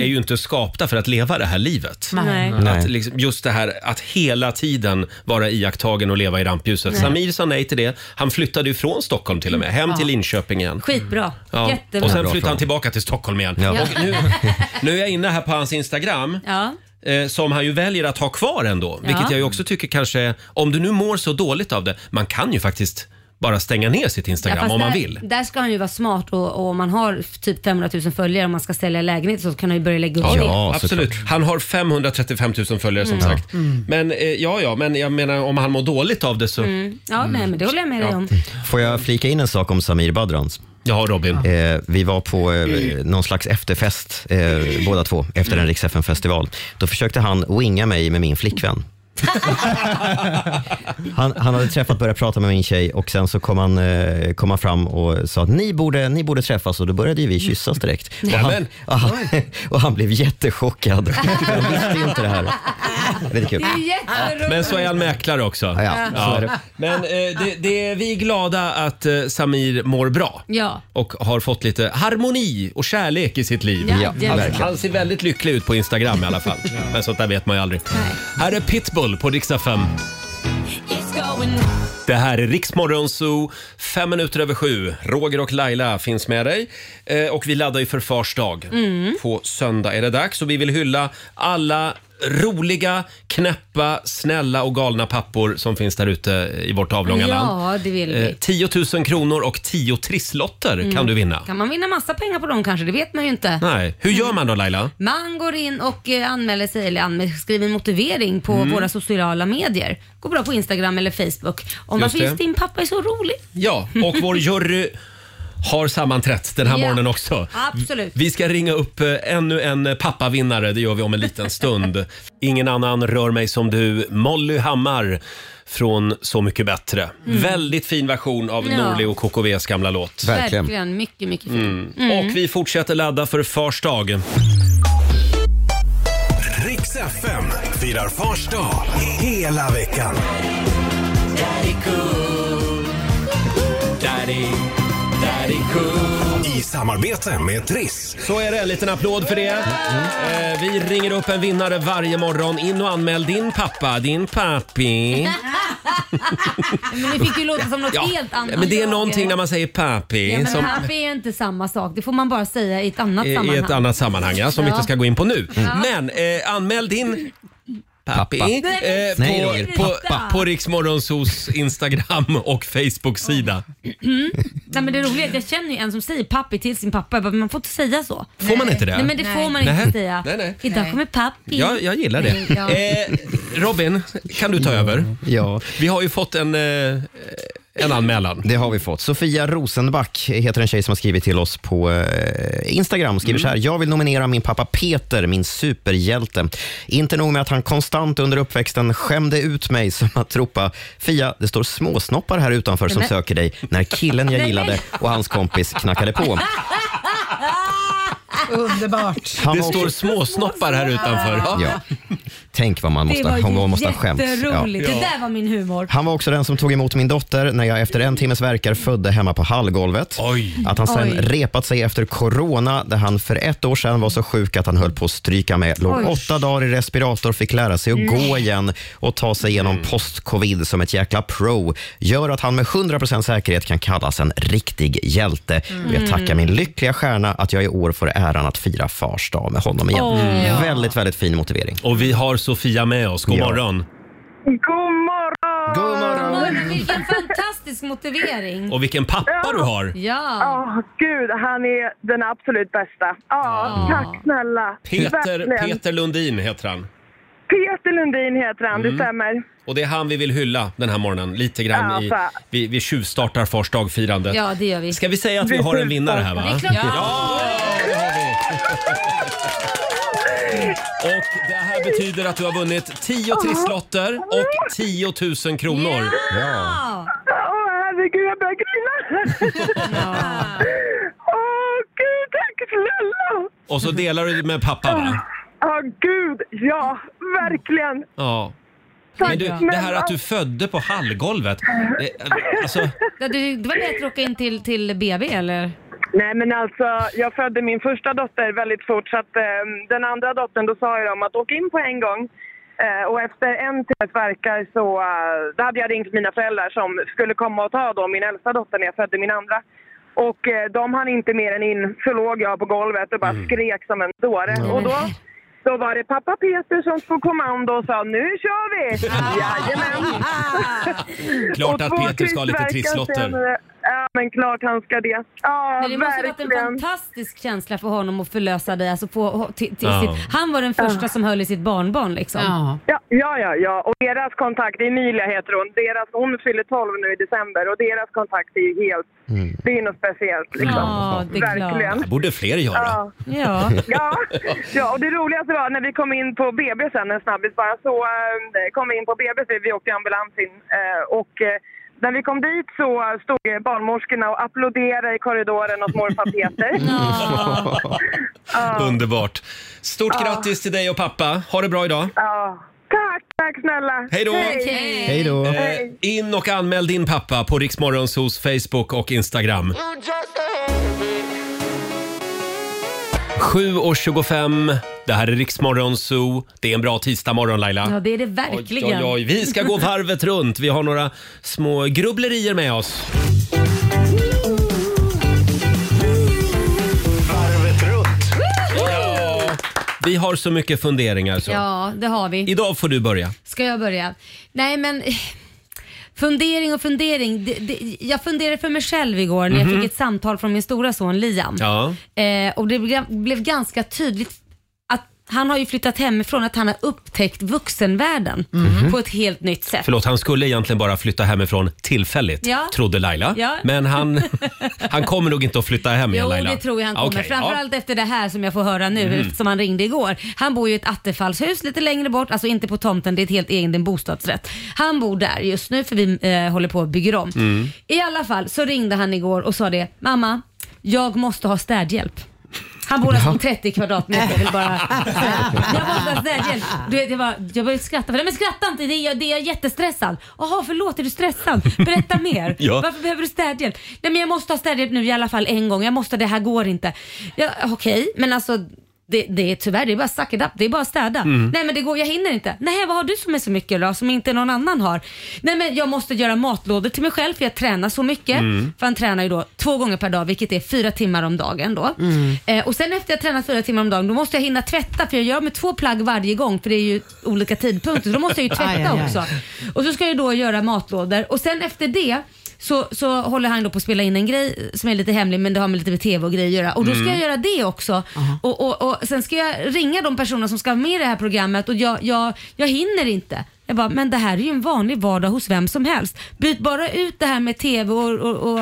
är ju inte skapta för att leva det här livet.
Nej.
Att liksom, just det här att hela tiden vara iakttagen och leva i rampljuset. Samir sa nej till det. Han flyttade ju från Stockholm till och med, hem till Linköping igen.
Skitbra.
Mm. Ja.
Jättebra.
Och sen
Bra
flyttade han
fråga.
tillbaka till Stockholm igen. Och nu, nu är jag inne här på hans Instagram.
ja.
eh, som han ju väljer att ha kvar ändå.
Ja.
Vilket jag ju också tycker kanske, om du nu mår så dåligt av det, man kan ju faktiskt bara stänga ner sitt
Ja,
Instagram
fast
om man
där,
vill.
Där ska han ju vara smart och, och om man har typ 500 000 följare och man ska sälja lägenhet så kan han ju börja lägga upp
Ja,
det.
absolut. Han har 535 000 följare som
Mm.
sagt. Men eh, ja, ja, men jag menar om han mår dåligt av det så...
Mm. Ja, nej men det håller jag med dig om.
Mm.
Får jag flika in en sak om Samir Badrans?
Ja, Robin.
Eh, vi var på eh, någon slags efterfest, eh, båda två, efter en riks festival Då försökte han winga mig med min flickvän. Han, han hade träffat, börjat prata med min tjej och sen så kom han, eh, kom han fram och sa att ni borde, ni borde träffas och då började ju vi kyssas direkt. Och han,
Nämen.
och han, och han blev jättechockad. Han visste ju inte det här. Väldigt kul.
jätteroligt.
Men så är han mäklare också.
ja, så är det.
Men eh, det, det, vi är glada att eh, Samir mår bra
Ja.
och har fått lite harmoni och kärlek i sitt liv.
Ja, Ja, det är
han,
verkligen.
han ser väldigt lycklig ut på Instagram i alla fall. Men sånt där vet man ju aldrig. Här är Pitbull på Dixa 5.
It's going
Det här är Riksmorgon Zoo, fem minuter över sju. Roger och Laila finns med dig. Eh, och vi laddar ju för Fars dag.
Mm.
På söndag är det dags och vi vill hylla alla roliga, knäppa, snälla och galna pappor som finns där ute i vårt avlånga land.
Ja, det vill vi.
Eh, 10 000 kronor och 10 trisslotter
Mm.
kan du vinna.
Kan man vinna massa pengar på dem kanske? Det vet man ju inte.
Nej. Hur gör man då Laila?
Man går in och eh, anmäler sig, eller anmäler, skriver en motivering på
Mm.
våra sociala medier. Går bra på Instagram eller Facebook. Om
Just
varför
det.
just din pappa är så rolig.
Ja, och vår jury har sammanträtt den här
Ja.
morgonen också.
Absolut.
Vi ska ringa upp eh, ännu en pappavinnare. Det gör vi om en liten stund. Ingen annan rör mig som du, Molly Hammar från Så mycket bättre.
Mm.
Väldigt fin version av
Ja.
Norli och KKVs gamla låt.
Mycket, mycket fint.
Mm.
Mm.
Och vi fortsätter ladda för Fars dag.
Riks FM firar Fars dag hela veckan. Daddy cool. Daddy, daddy cool. I samarbete med Triss.
Så är det, en liten applåd för det.
Mm.
Eh, vi ringer upp en vinnare varje morgon. In och anmäl din pappa, din pappi.
Men det fick ju låta som något helt annat.
Men det är någonting när man säger pappi.
Ja, men
som,
pappa är inte samma sak. Det får man bara säga i ett annat
i, I
sammanhang.
ett annat sammanhang, ja, som vi
Ja.
inte ska gå in på nu.
Ja.
Men eh, anmäl din pappi
Pappa.
eh,
Nej,
på,
Roger,
på,
pappa.
på Riksmorgonsos Instagram och Facebook-sida.
Mm. Nej, men det roliga är att jag känner ju en som säger pappi till sin pappa. Jag bara, Man får inte säga så.
Får man inte det?
Nej men det får man inte
Nej.
säga.
Nej, nej.
Idag kommer pappi.
Ja, jag gillar det.
Nej, ja.
Eh, Robin, kan du ta över?
Ja.
Vi har ju fått en, eh, en anmälan.
Det har vi fått. Sofia Rosenback heter en tjej som har skrivit till oss på eh, Instagram.
Mm.
Skriver så här. Jag vill nominera min pappa Peter, min superhjälte. Inte nog med att han konstant under uppväxten skämde ut mig som att ropa Fia, det står småsnoppar här utanför som
Nej, men-
söker dig när killen
Nej,
jag
men-
gillade och hans kompis knackade på.
Underbart.
Han
det
var
står
också-
småsnoppar här utanför.
Ja. Tänk vad man måste,
det var
vad
ju
man måste ha skämts.
jätteroligt.
Ja.
Det där var min humor.
Han var också den som tog emot min dotter när jag efter en timmes verkar födde hemma på hallgolvet. Att han sen
Oj.
repat sig efter corona där han för ett år sedan var så sjuk att han höll på att stryka med. Låg
Oj. Mm.
åtta dagar i respirator, fick lära sig att gå
Nej.
igen och ta sig igenom post-covid som ett jäkla pro. Gör att han med 100% säkerhet kan kallas en riktig hjälte. Och
Mm.
jag tackar min lyckliga stjärna att jag i år får äran att fira fars dag med honom igen.
Oj. Mm.
Väldigt, väldigt fin motivering.
Och vi har Sofia med oss. God morgon.
God morgon!
God
Men Vilken fantastisk motivering.
Och vilken pappa du har.
Ja.
Åh, gud, han är den absolut bästa. Ja, tack snälla.
Peter,
Verkligen.
Peter Lundin heter han.
Peter Lundin heter han, det
Mm.
stämmer.
Och det är han vi vill hylla den här morgonen. Lite grann i,
Ja, fan.
vi, vi tjuvstartar fars dagfirandet.
Ja, det gör vi.
Ska vi säga att vi har en vinnare här
Det är
va?
klart.
Och det här betyder att du har vunnit 10 trisslotter och 10 000 kronor.
Ja.
Åh, herregud, jag börjar grina. Åh, gud, tack snälla.
Och så delar du med pappa va?
Ja, gud, ja, verkligen.
Ja.
Tack
Men du,
snälla.
det här att du födde på hallgolvet. Det, alltså,
Ja, Det, det var lätt att åka in till, till BB eller?
Nej men alltså, jag födde min första dotter väldigt fort så att eh, den andra dottern då sa jag om att åka in på en gång. Eh, och efter en timmes verkar så, eh, då hade jag ringt mina föräldrar som skulle komma och ta då min äldsta dotter när jag födde min andra. Och
Mm.
eh, de hann inte mer än in så låg jag på golvet och bara skrek som en dåre.
Ja.
Och då Då var det pappa Peter som tog kommando och sa nu kör vi! Jajamän!
Klart
Och
att
två
Peter ska ha lite
kryssverkan
trisslotter.
senare. Ja, men klart han ska det. Ja,
Men det måste ha varit en
verkligen.
fantastisk känsla för honom att förlösa dig. Alltså få, till, till
Ja.
sitt, han var den första som höll i sitt barnbarn liksom.
Ja, ja, ja, ja. Och deras kontakt, Emilia heter hon, deras, hon fyller 12 nu i december och deras kontakt är ju helt, det är ju något speciellt liksom.
Ja, det är klart.
Verkligen.
Mm. Det borde fler göra.
Ja.
ja. Ja, och det roligaste var när vi kom in på BB sen en snabbis bara så eh, kom vi in på BB för vi åkte i ambulans in eh, och eh, när vi kom dit så stod barnmorskorna och applåderade i korridoren åt morfar Peter. Ja.
Underbart. Stort
Ja.
grattis till dig och pappa. Ha det bra idag.
Ja. Tack, tack snälla.
Hej då!
Hej
Eh, in och anmäl din pappa på Riksmorgonsos Facebook och Instagram. 7.25, det här är Riksmorgonso. Det är en bra tisdagmorgon Laila.
Ja, det är det
Oj,
verkligen.
oj, oj. Vi ska gå varvet runt. Vi har några små grubblerier med oss.
Varvet runt.
Vi har så mycket funderingar så.
Ja, det har vi.
Idag får du börja.
Ska jag börja? Nej men eh, fundering och fundering. Det, det, jag funderade för mig själv igår när
Mhm.
jag fick ett samtal från min stora son Liam.
Ja.
Eh, och det blev- blev ganska tydligt att han har ju flyttat hemifrån, att han har upptäckt vuxenvärlden
Mhm.
på ett helt nytt sätt.
Förlåt, han skulle egentligen bara flytta hemifrån tillfälligt,
Ja.
trodde Laila.
Ja.
Men han, han kommer nog inte att flytta hem igen
Jo,
Laila.
det tror jag han kommer.
Okej, ja.
Framförallt efter det här som jag får höra nu
Mm.
eftersom han ringde igår. Han bor ju i ett attefallshus lite längre bort, alltså inte på tomten, det är ett helt egen, det är en bostadsrätt. Han bor där just nu för vi eh, håller på och bygger om.
Mm.
I alla fall så ringde han igår och sa det, mamma, jag måste ha städhjälp. Han bor alltså på 30 kvadratmeter. Jag vill bara säga. Jag måste ha städhjälp. Du vet, jag, bara, jag började skratta. Nej, men skratta inte, det är, jag, det är jag jättestressad. Jaha, förlåt, är du stressad? Berätta mer.
Ja.
Varför behöver du städhjälp? Nej, men jag måste ha städhjälp nu i alla fall en gång. Jag måste, det här går inte. Ja, Okej, men alltså det, det är tyvärr, det är bara suck it up. Det är bara att städa.
Mm.
Nej men det går, jag hinner inte. Nej vad har du som är så mycket då, som inte någon annan har? Nej men jag måste göra matlådor till mig själv för jag tränar så mycket.
Mm.
För han tränar ju då två gånger per dag, vilket är fyra timmar om dagen då.
Mm.
Eh, och sen efter jag tränat fyra timmar om dagen, då måste jag hinna tvätta för jag gör med två plagg varje gång för det är ju olika tidpunkter. Så då måste jag ju tvätta
Aj, aj, aj.
också. Och så ska jag då göra matlådor och sen efter det så, så håller han då på att spela in en grej som är lite hemlig men det har med lite med tv och grejer att göra. Och då ska
Mm.
jag göra det också. Och, och, och Sen ska jag ringa de personer som ska vara med i det här programmet och jag, jag, jag hinner inte. Jag bara, men det här är ju en vanlig vardag hos vem som helst. Byt bara ut det här med TV och, och, och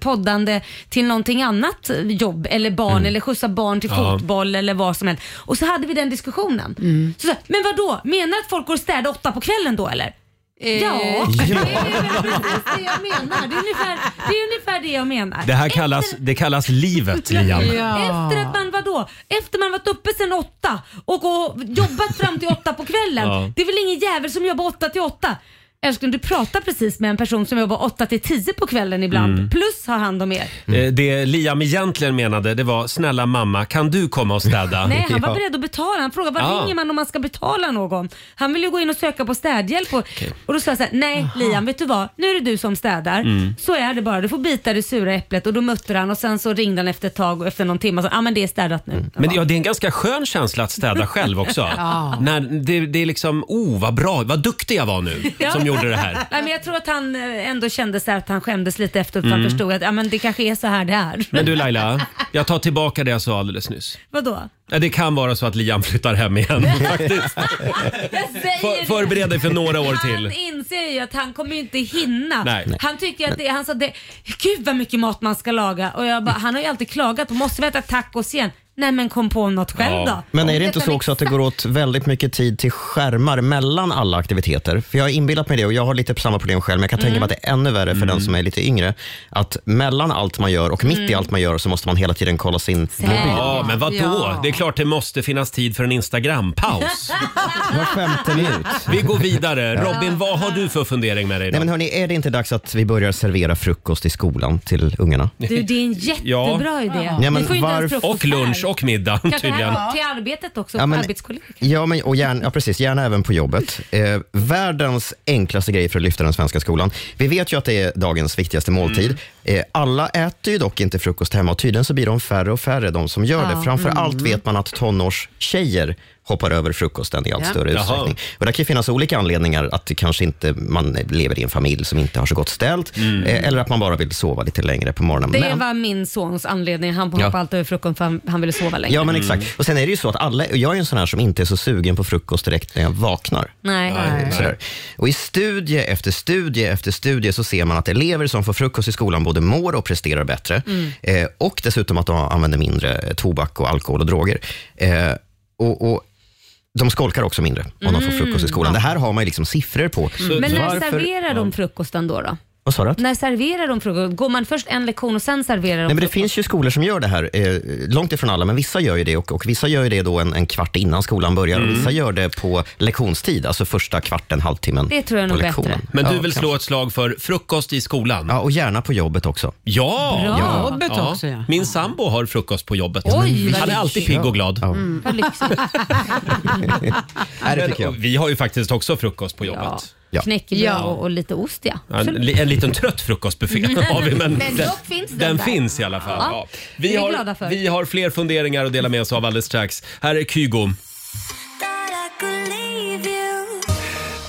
poddande till någonting annat jobb eller barn eller skjutsa barn till
Mm. Ja.
fotboll eller vad som helst. Och så hade vi den diskussionen.
Mm.
Så, sa jag, men vad då? menar du att folk går och städar åtta på kvällen då eller? Ja, Eh, det är precis det jag menar. Det är ungefär det, är ungefär det jag menar.
Det här kallas, det kallas livet, Liam.
Efter att man vadå? Efter man varit uppe sen åtta och, och jobbat fram till åtta på kvällen.
Ja.
Det är väl ingen jävel som jobbar åtta till åtta? Älskling, du pratar precis med en person som jobbar åtta till tio på kvällen ibland.
Mm.
Plus har hand om er.
Eh, Det Liam egentligen menade det var snälla mamma, kan du komma och städa?
Nej, han var beredd att betala. Han frågade vad
Ja.
ringer man om man ska betala någon? Han ville ju gå in och söka på städhjälp och, och då sa jag så här, nej Liam vet du vad, nu är det du som städar.
Mm.
Så är det bara, du får bita det sura äpplet och då mötte han och sen så ringde han efter ett tag och efter någon timme och sa, ja ah, men det är städat nu.
Mm. Men det- ja, det är en ganska skön känsla att städa själv också.
Ja.
När det, det är liksom, oh vad bra, vad duktig jag var nu
Ja.
som gjorde det här.
Nej, men jag tror att han eh, ändå kände så här att han skämdes lite efter att han
Mm.
förstod att ja, men det kanske är så här det är.
Men du Laila, jag tar tillbaka det jag sa alldeles nyss.
Vadå?
Ja, Det kan vara så att Liam flyttar hem igen faktiskt.
Jag säger
För,
det.
förbered dig för några år
Han
till.
inser ju att han kommer ju inte hinna.
Nej.
Han tycker att det, han sa det, gud vad mycket mat man ska laga och jag bara, han har ju alltid klagat på, måste vi äta tacos igen? Nej men kom på något själv då.
Men är
Och
det inte
detta
så också att det går åt väldigt mycket tid till skärmar mellan alla aktiviteter? För jag har inbillat mig det och jag har lite samma problem själv, men jag kan tänka mig
Mm.
att det är ännu värre för den som är lite yngre. Att mellan allt man gör och mitt i
Mm.
allt man gör så måste man hela tiden kolla sin mobil.
Ja, men vadå?
Ja.
Det är klart det måste finnas tid för en Instagram-paus.
Var femte minut.
Vi går vidare. Robin, vad har du för fundering med dig
Nej
idag?
men hörni, är det inte dags att vi börjar servera frukost i skolan till ungarna?
Du, det är en jättebra idé.
Ja, men
Vi får ju inte ens
varf-
frukost
Och lunch
här.
Och middag
Kanske
tydligen.
här till arbetet också,
Ja, men-
arbetskollegor.
Ja, men, och gärna, ja, precis. Gärna även på jobbet. Eh, världens enklaste grej för att lyfta den svenska skolan. Vi vet ju att det är dagens viktigaste måltid. Eh, alla äter ju dock inte frukost hemma och tydligen så blir de färre och färre, de som gör
Ja.
det. Framför
Mm.
allt vet man att tonårstjejer hoppar över frukosten i allt
Ja.
större
Jaha.
utsträckning. Och det kan ju finnas olika anledningar, att det kanske inte man lever i en familj som inte har så gott ställt, eh, eller att man bara vill sova lite längre på morgonen.
Det
Men-
var min sons anledning. Han
Ja.
hoppade alltid över frukost för han, han ville sova längre. Mm.
Ja, men exakt. Och sen är det ju så att alla, och jag är ju en sån här som inte är så sugen på frukost direkt när jag vaknar.
Nej. Nej.
Sådär. Och i studie efter studie efter studie så ser man att elever som får frukost i skolan både mår och presterar bättre.
Mm.
Eh, och dessutom att de använder mindre tobak och alkohol och droger. Eh, och, och de skolkar också mindre om de får
Mm.
frukost i skolan. Det här har man ju liksom siffror på.
Men när
Varför-
serverar de frukosten då? då?
Vad sa du? att-
När serverar de frukost? Går man först en lektion och sen serverar de
Nej, men det
frukost?
finns ju skolor som gör det här, eh, långt ifrån alla, men vissa gör ju det och, och vissa gör ju det då en, en kvart innan skolan börjar och
Mm.
vissa gör det på lektionstid, alltså första kvarten, halvtimmen
Det tror jag
på
nog
lektionen.
bättre.
Men du
Ja,
vill slå ett slag för frukost i skolan?
Ja, och gärna på jobbet också.
Ja!
Bra. På jobbet också, ja.
Min sambo har frukost på jobbet.
Oj, vad
Han är
lyxigt.
alltid pigg och glad.
Mm, vad lyxigt.
Nej,
det tycker jag. Vi har ju faktiskt också frukost på jobbet.
Knäckebröd och, och lite ost ja.
En, li- en liten trött frukostbuffé har vi, men,
Mm. Men dock finns den där.
finns i alla fall.
Ja.
Ja.
Det är
Vi,
vi
har,
glada för.
vi har fler funderingar att dela med oss av alldeles strax. Här är Kygo.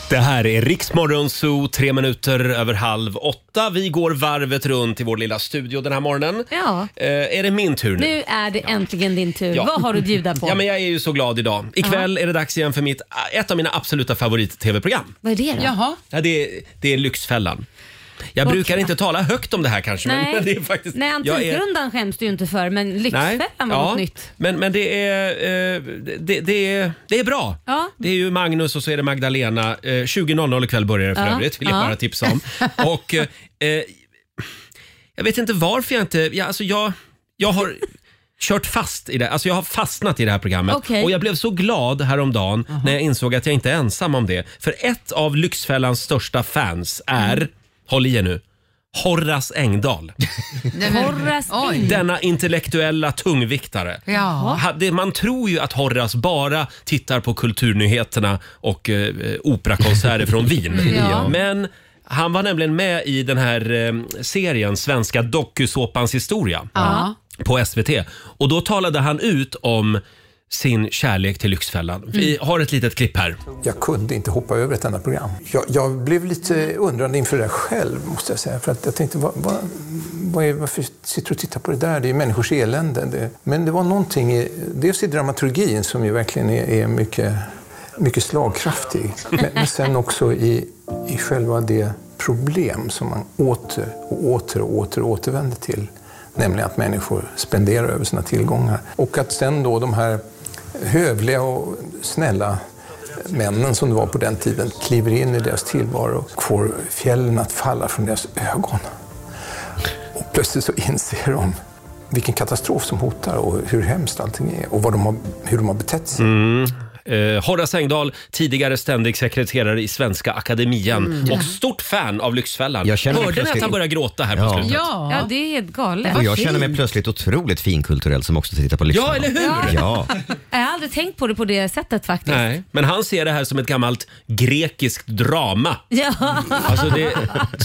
Det här är Riksmorgon Zoo, tre minuter över halv åtta. Vi går varvet runt i vår lilla studio den här morgonen.
Ja.
Eh, är det min tur nu?
Nu är det äntligen din tur.
Ja.
Vad har du att bjuda på?
Ja, men jag är ju så glad idag. Ikväll är det dags igen för mitt, ett av mina absoluta favorit-tv-program.
Vad är det då? Jaha.
Ja, det, är, det är Lyxfällan. Jag
Okej.
brukar inte tala högt om det här kanske, men,
Nej,
men det är faktiskt...
Nej
jag är-
Antikrundan skäms du ju inte för, men Lyxfällan var något nytt.
Men, men det, är, eh, det, det, är, det är bra.
Ja.
Det är ju Magnus och så är det Magdalena. Eh, 20.00 ikväll börjar det för
Ja.
övrigt, vill jag
Ja.
bara tipsa om. Och, eh, eh, jag vet inte varför jag inte... Jag, alltså jag, jag har kört fast i det. Alltså jag har fastnat i det här programmet.
Okej.
Och jag blev så glad häromdagen när jag insåg att jag inte är ensam om det. För ett av Lyxfällans största fans är,
Mm.
håll i er nu, Horace Engdahl.
Porras in.
Denna intellektuella tungviktare.
Ja.
Ha- det- Man tror ju att Horras bara tittar på kulturnyheterna och eh, operakonserter från Wien.
Ja.
Men han var nämligen med i den här eh, serien Svenska dokusåpans historia
Ja.
på SVT. Och då talade han ut om sin kärlek till Lyxfällan. Vi
Mm.
har ett litet klipp här.
Jag kunde inte hoppa över ett enda program. Jag, jag blev lite undrande inför det där själv, måste jag säga. För att jag tänkte, vad, vad, vad är, varför sitter du och tittar på det där? Det är ju människors elände. Det, men det var någonting, i, dels i dramaturgin som ju verkligen är, är mycket, mycket slagkraftig. Men, men sen också i, i själva det problem som man åter och åter och åter återvänder till. Nämligen att människor spenderar över sina tillgångar. Och att sen då de här hövliga och snälla männen som det var på den tiden kliver in i deras tillvaro och får fjällen att falla från deras ögon. Och plötsligt så inser de vilken katastrof som hotar och hur hemskt allting är och vad de har, hur de har betett sig.
Mm. Eh, Horace Engdahl, tidigare ständig sekreterare i Svenska Akademien
Mm.
och stort fan av Lyxfällan.
Jag känner mig
Hörde ni att
plötsligt-
han började gråta här på
Ja.
slutet?
Ja. det är helt galet.
Och jag känner mig plötsligt otroligt finkulturell som också tittar på Lyxfällan.
liksom. Ja, eller hur?
Ja.
Jag har aldrig tänkt på det på det sättet faktiskt.
Nej, men han ser det här som ett gammalt grekiskt drama.
Ja.
Alltså det,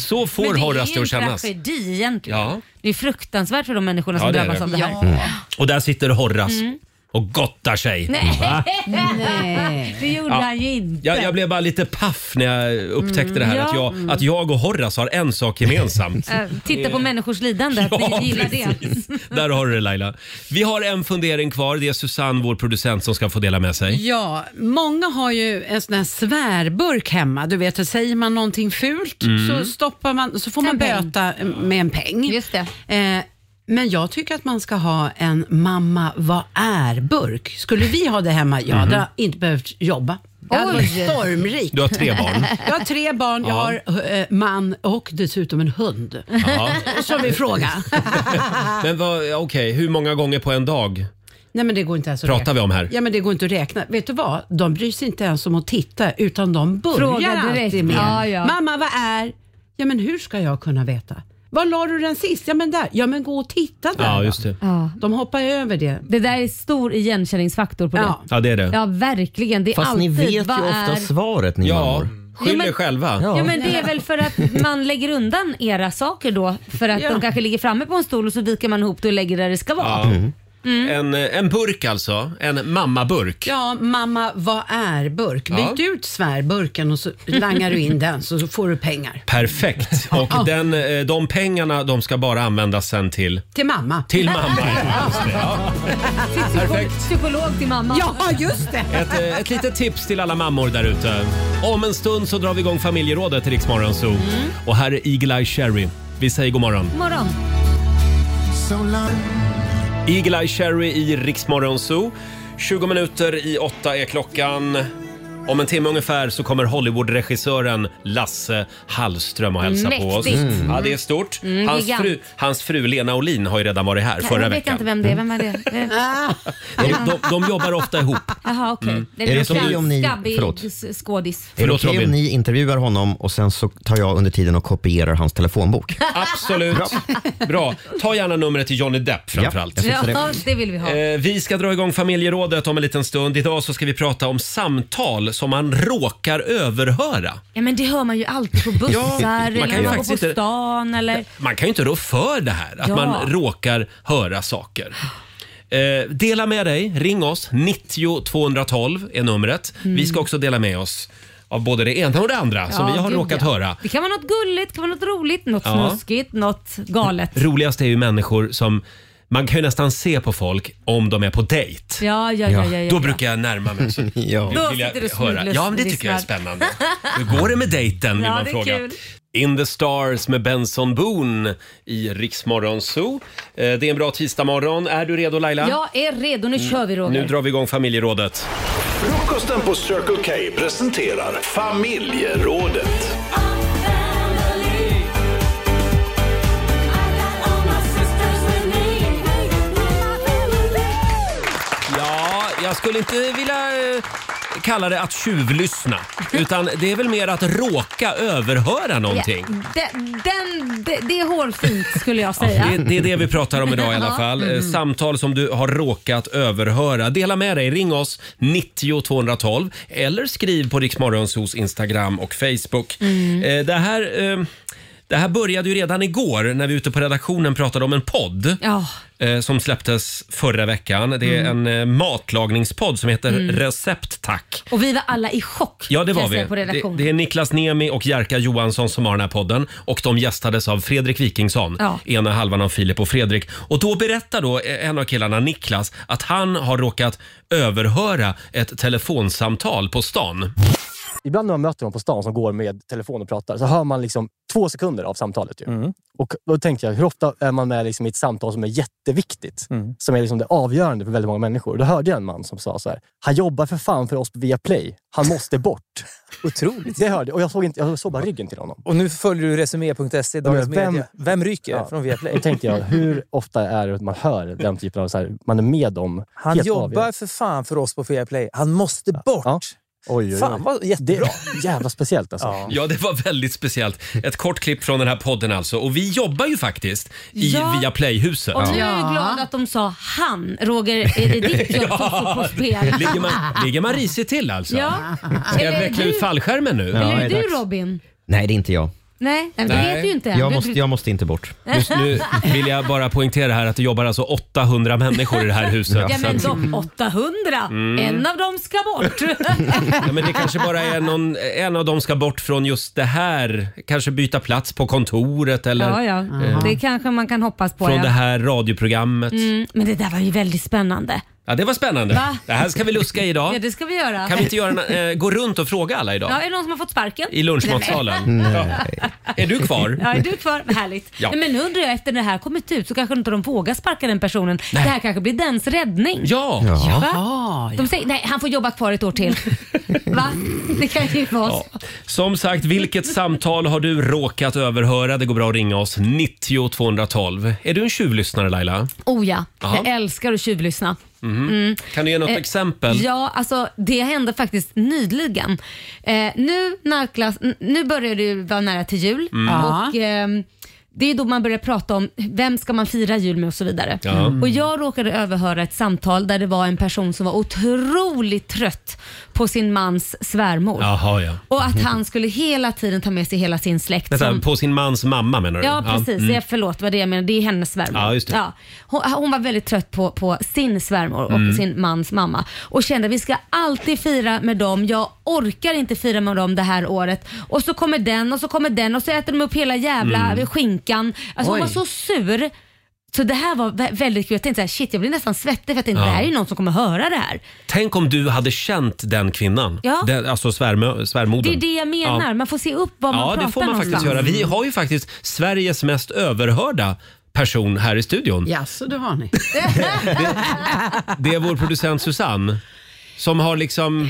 så
Men
får Horace det att kännas.
Det är ju en tragedi egentligen.
Ja.
Det är fruktansvärt för de människorna som
Ja, det är
drabbas
det.
av det här.
Mm. Och där sitter Horace
Mm.
och gottar sig. Mm. Va?
Nej, det gjorde
Ja.
han ju inte.
Jag, jag blev bara lite paff när jag upptäckte
Mm.
det här
Ja.
att, jag, att jag och Horace har en sak gemensamt.
Eh, Titta på
Det-
människors lidande, att
Ja,
ni gillar
precis. Där har du det Laila. Vi har en fundering kvar. Det är Susanne, vår producent, som ska få dela med sig.
Ja, många har ju en sån här svärburk hemma. Du vet, säger man någonting fult
Mm.
så, stoppar man, så får man böta med en peng. Just Eh, men jag tycker att man ska ha en mamma vad är-burk. Skulle vi ha det hemma, jag hade
Mhm.
inte behövt jobba. Jag hade varit
Oj.
stormrik.
Du har tre barn.
Jag har tre barn, jag
Ja.
har eh, man och dessutom en hund.
Ja.
Som vi fråga.
Men vad, okej, hur många gånger på en dag?
Nej men det går inte ens att
Pratar
räkna.
vi om här?
Ja men det går inte att räkna. Vet du vad? De bryr sig inte ens om att titta utan de börjar
Fråga direkt.
alltid med.
Ja, ja.
Mamma vad är? Ja men hur ska jag kunna veta? Var la du den sist? Ja men där. Ja men gå och titta där
Ja,
då.
just det.
De hoppar över det.
Det där är stor igenkänningsfaktor på det.
Ja, det är det.
Ja, verkligen. Det är
Fast ni
alltid,
vet ju
vad
ofta
är...
svaret ni
Ja,
Ja,
skyll
men-
er själva.
Ja. men det är väl för att man lägger undan era saker då för att
Ja.
de kanske ligger framme på en stol och så viker man ihop det och lägger det där det ska vara.
Ja. En, en burk alltså, en mammaburk.
Ja, mamma, vad är burk?
Ja.
Byt ut svärburken och så langar du in den så får du pengar.
Perfekt. Och den, eh, de pengarna de ska bara användas sen till?
Till mamma.
Till mamma, ja, just det. Perfekt.
Psykolog till mamma.
Ja, just det.
Ett, eh, ett litet tips till alla mammor där ute. Om en stund så drar vi igång familjerådet i Rix Morgon Zoo. Och här är Eagle-Eye Cherry. Vi säger god morgon.
Morgon.
Eagle-Eye Cherry i Rix Morgon Zoo. 20 minuter i åtta är klockan. Om en timme ungefär så kommer Hollywoodregissören Lasse Hallström och hälsa på oss.
Mäktigt. Mm.
Ja, det är stort.
Mm,
Hans
gigant.
fru, hans fru Lena Olin har ju redan varit här förra
jag vet
veckan. Mm.
inte vem det är. Vem är det? Eh,
De, de, de jobbar ofta ihop.
Jaha, okej.
Mm.
Det
Är det
en
okej om ni-
skabbig
förlåt.
s- skådis.
Är det okej om ni intervjuar honom och sen så tar jag under tiden och kopierar hans telefonbok?
Absolut. Bra. Ta gärna numret till Johnny Depp framförallt.
Ja, det vill vi ha.
Eh, Vi ska dra igång familjerådet om en liten stund. Idag så ska vi prata om samtal som man råkar överhöra.
Ja, men det hör man ju alltid på
Ja,
bussar
man kan
eller
ju
när man går
faktiskt
på
inte-
stan eller...
Man kan ju inte rå för det här, att
Ja.
man råkar höra saker. Eh, dela med dig, ring oss. 90 212 är numret.
Mm.
Vi ska också dela med oss av både det ena och det andra som
Ja,
Alltså, vi har
gud,
råkat
ja.
höra.
Det kan vara något gulligt, det kan vara något roligt, något
Ja.
snuskigt, något galet.
Roligast är ju människor som man kan ju nästan se på folk om de är på dejt.
Ja, ja, ja. ja, ja.
Då brukar jag närma mig. Så
Då
vill jag
sitter du och
höra.
snubblar-
Ja, men det tycker jag är
lyssnar.
spännande. Hur går det med dejten vill
Ja,
man
det är
fråga.
kul.
In the Stars med Benson Boone i Riksmorgon Zoo. Eh, Det är en bra tisdagmorgon. Är du redo Laila?
Jag är redo, nu kör vi Roger.
Nu drar vi igång familjerådet.
Frukosten på Circle K presenterar familjerådet.
Ja, jag skulle inte vilja eh, kalla det att tjuvlyssna. Utan det är väl mer att råka överhöra någonting.
Ja, den, den, det, det är hårfint skulle jag säga.
Det, det är det vi pratar om idag i alla
Ja.
fall. Eh,
Mm.
Samtal som du har råkat överhöra. Dela med dig. Ring oss 90 212 eller skriv på Riksmorgonsos Instagram och Facebook.
Mm.
Eh, Det här, eh, det här började ju redan igår när vi ute på redaktionen pratade om en podd.
Ja.
eh, Som släpptes förra veckan. Det är
Mm.
en eh, matlagningspodd som heter
Mm.
Recept tack.
Och vi var alla i chock
Ja, det
kan
var
jag
vi.
säga, på
Det,
redaktionen.
det är Niklas Nemi och Jerka Johansson som har den här podden och de gästades av Fredrik Wikingsson,
Ja.
ena halvan av Filip och Fredrik. Och då berättar då eh, en av killarna, Niklas, att han har råkat överhöra ett telefonsamtal på stan.
Ibland när man möter någon på stan som går med telefon och pratar så hör man liksom två sekunder av samtalet. Ju.
Mm.
Och då tänkte jag, hur ofta är man med liksom i ett samtal som är jätteviktigt?
Mm.
Som är liksom det avgörande för väldigt många människor. Då hörde jag en man som sa så här, han jobbar för fan för oss på Viaplay. Han måste bort. Otroligt. Det hörde jag. Och jag såg, inte, jag såg bara ryggen till honom.
Och nu följer du Resumé.se, E, Dagens
Vem-
Media. Vem ryker från Viaplay?
Då tänkte jag, hur ofta är det att man hör den typen av... Så här, man är med om...
Han
helt
jobbar
avgörande-
för fan för oss på Viaplay. Han måste bort.
Oj, oj, oj.
Fan vad jättebra.
Det- Jävla speciellt alltså.
Ja, det var väldigt speciellt. Ett kort klipp från den här podden alltså. Och vi jobbar ju faktiskt i
Ja.
Via Playhuset.
Och nu är jag glad att de sa han. Roger, är det ditt jobb som står på spel?
ligger, man, ligger man risigt till alltså?
Ja.
Ska jag
Eller är
veckla
du-
ut fallskärmen nu?
Eller är det du Robin?
Nej, det är inte jag.
Nej, nej, det vet du ju inte än.
Jag
Du-
måste,
du-
jag måste inte bort.
Just nu vill jag bara poängtera här att det jobbar alltså 800 människor i det här huset.
Ja, men
Så att-
de 800,
Mm.
en av dem ska bort.
Ja, men det kanske bara är någon, en av dem ska bort från just det här. Kanske byta plats på kontoret eller
ja, ja.
eh,
Det kanske man kan hoppas på.
från
ja.
det här radioprogrammet.
Mm, men det där var ju väldigt spännande.
Ja, det var spännande.
Va?
Det här ska vi luska i
Ja,
idag.
det ska vi göra.
Kan vi inte göra en, eh, gå runt och fråga alla idag?
Ja, är det någon som har fått sparken?
I lunchmatsalen? Ja. Är du kvar?
Ja, är du kvar? Vad Härligt.
Ja.
Nej, Men nu undrar jag, efter det här kommit ut så kanske inte de vågar sparka den personen. Det här kanske blir dens räddning.
Ja.
Va?
Jaha,
De säger, nej han får jobba kvar ett år till. Va? Det kan ju vara så.
Som sagt, vilket samtal har du råkat överhöra? Det går bra att ringa oss. 90 212. Är du en tjuvlyssnare Laila?
Oh ja,
Jaha.
jag älskar att tjuvlyssna.
Mhm.
Mm.
Kan du ge något
Eh,
exempel?
Ja, alltså det hände faktiskt nyligen. Eh, nu, närklas, n- nu börjar det ju vara nära till jul
Mm.
och ehm, det är då man börjar prata om vem ska man fira jul med och så vidare.
Ja.
Och jag råkade överhöra ett samtal där det var en person som var otroligt trött på sin mans svärmor.
Jaha, ja. Mm-hmm.
Och att han skulle hela tiden ta med sig hela sin släkt.
Vänta,
som-
på sin mans mamma menar du?
Ja, precis.
mm.
Ja, förlåt, vad det jag menar. Det är hennes svärmor.
Ja, just det.
Hon, hon var väldigt trött på, på sin svärmor och
Mm.
sin mans mamma och kände vi ska alltid fira med dem. Jag orkar inte fira med dem det här året. Och så kommer den och så kommer den och så äter de upp hela jävla
Mm.
skinkan. Alltså, hon
Oj.
var så sur. Så det här var vä- väldigt kul. Jag tänkte så här, shit jag blir nästan svettig för att tänkte,
Ja.
det här är ju någon som kommer höra det här.
Tänk om du hade känt den kvinnan,
Ja.
den, alltså svärmö,
Det
svärmodern.
är det jag menar.
Ja.
Man får se upp vad man
Ja,
pratar
det får man faktiskt göra.
någonstans.
Vi har ju faktiskt Sveriges mest överhörda person här i studion.
Ja, så det har ni.
Det är vår producent Susanne som har liksom eh,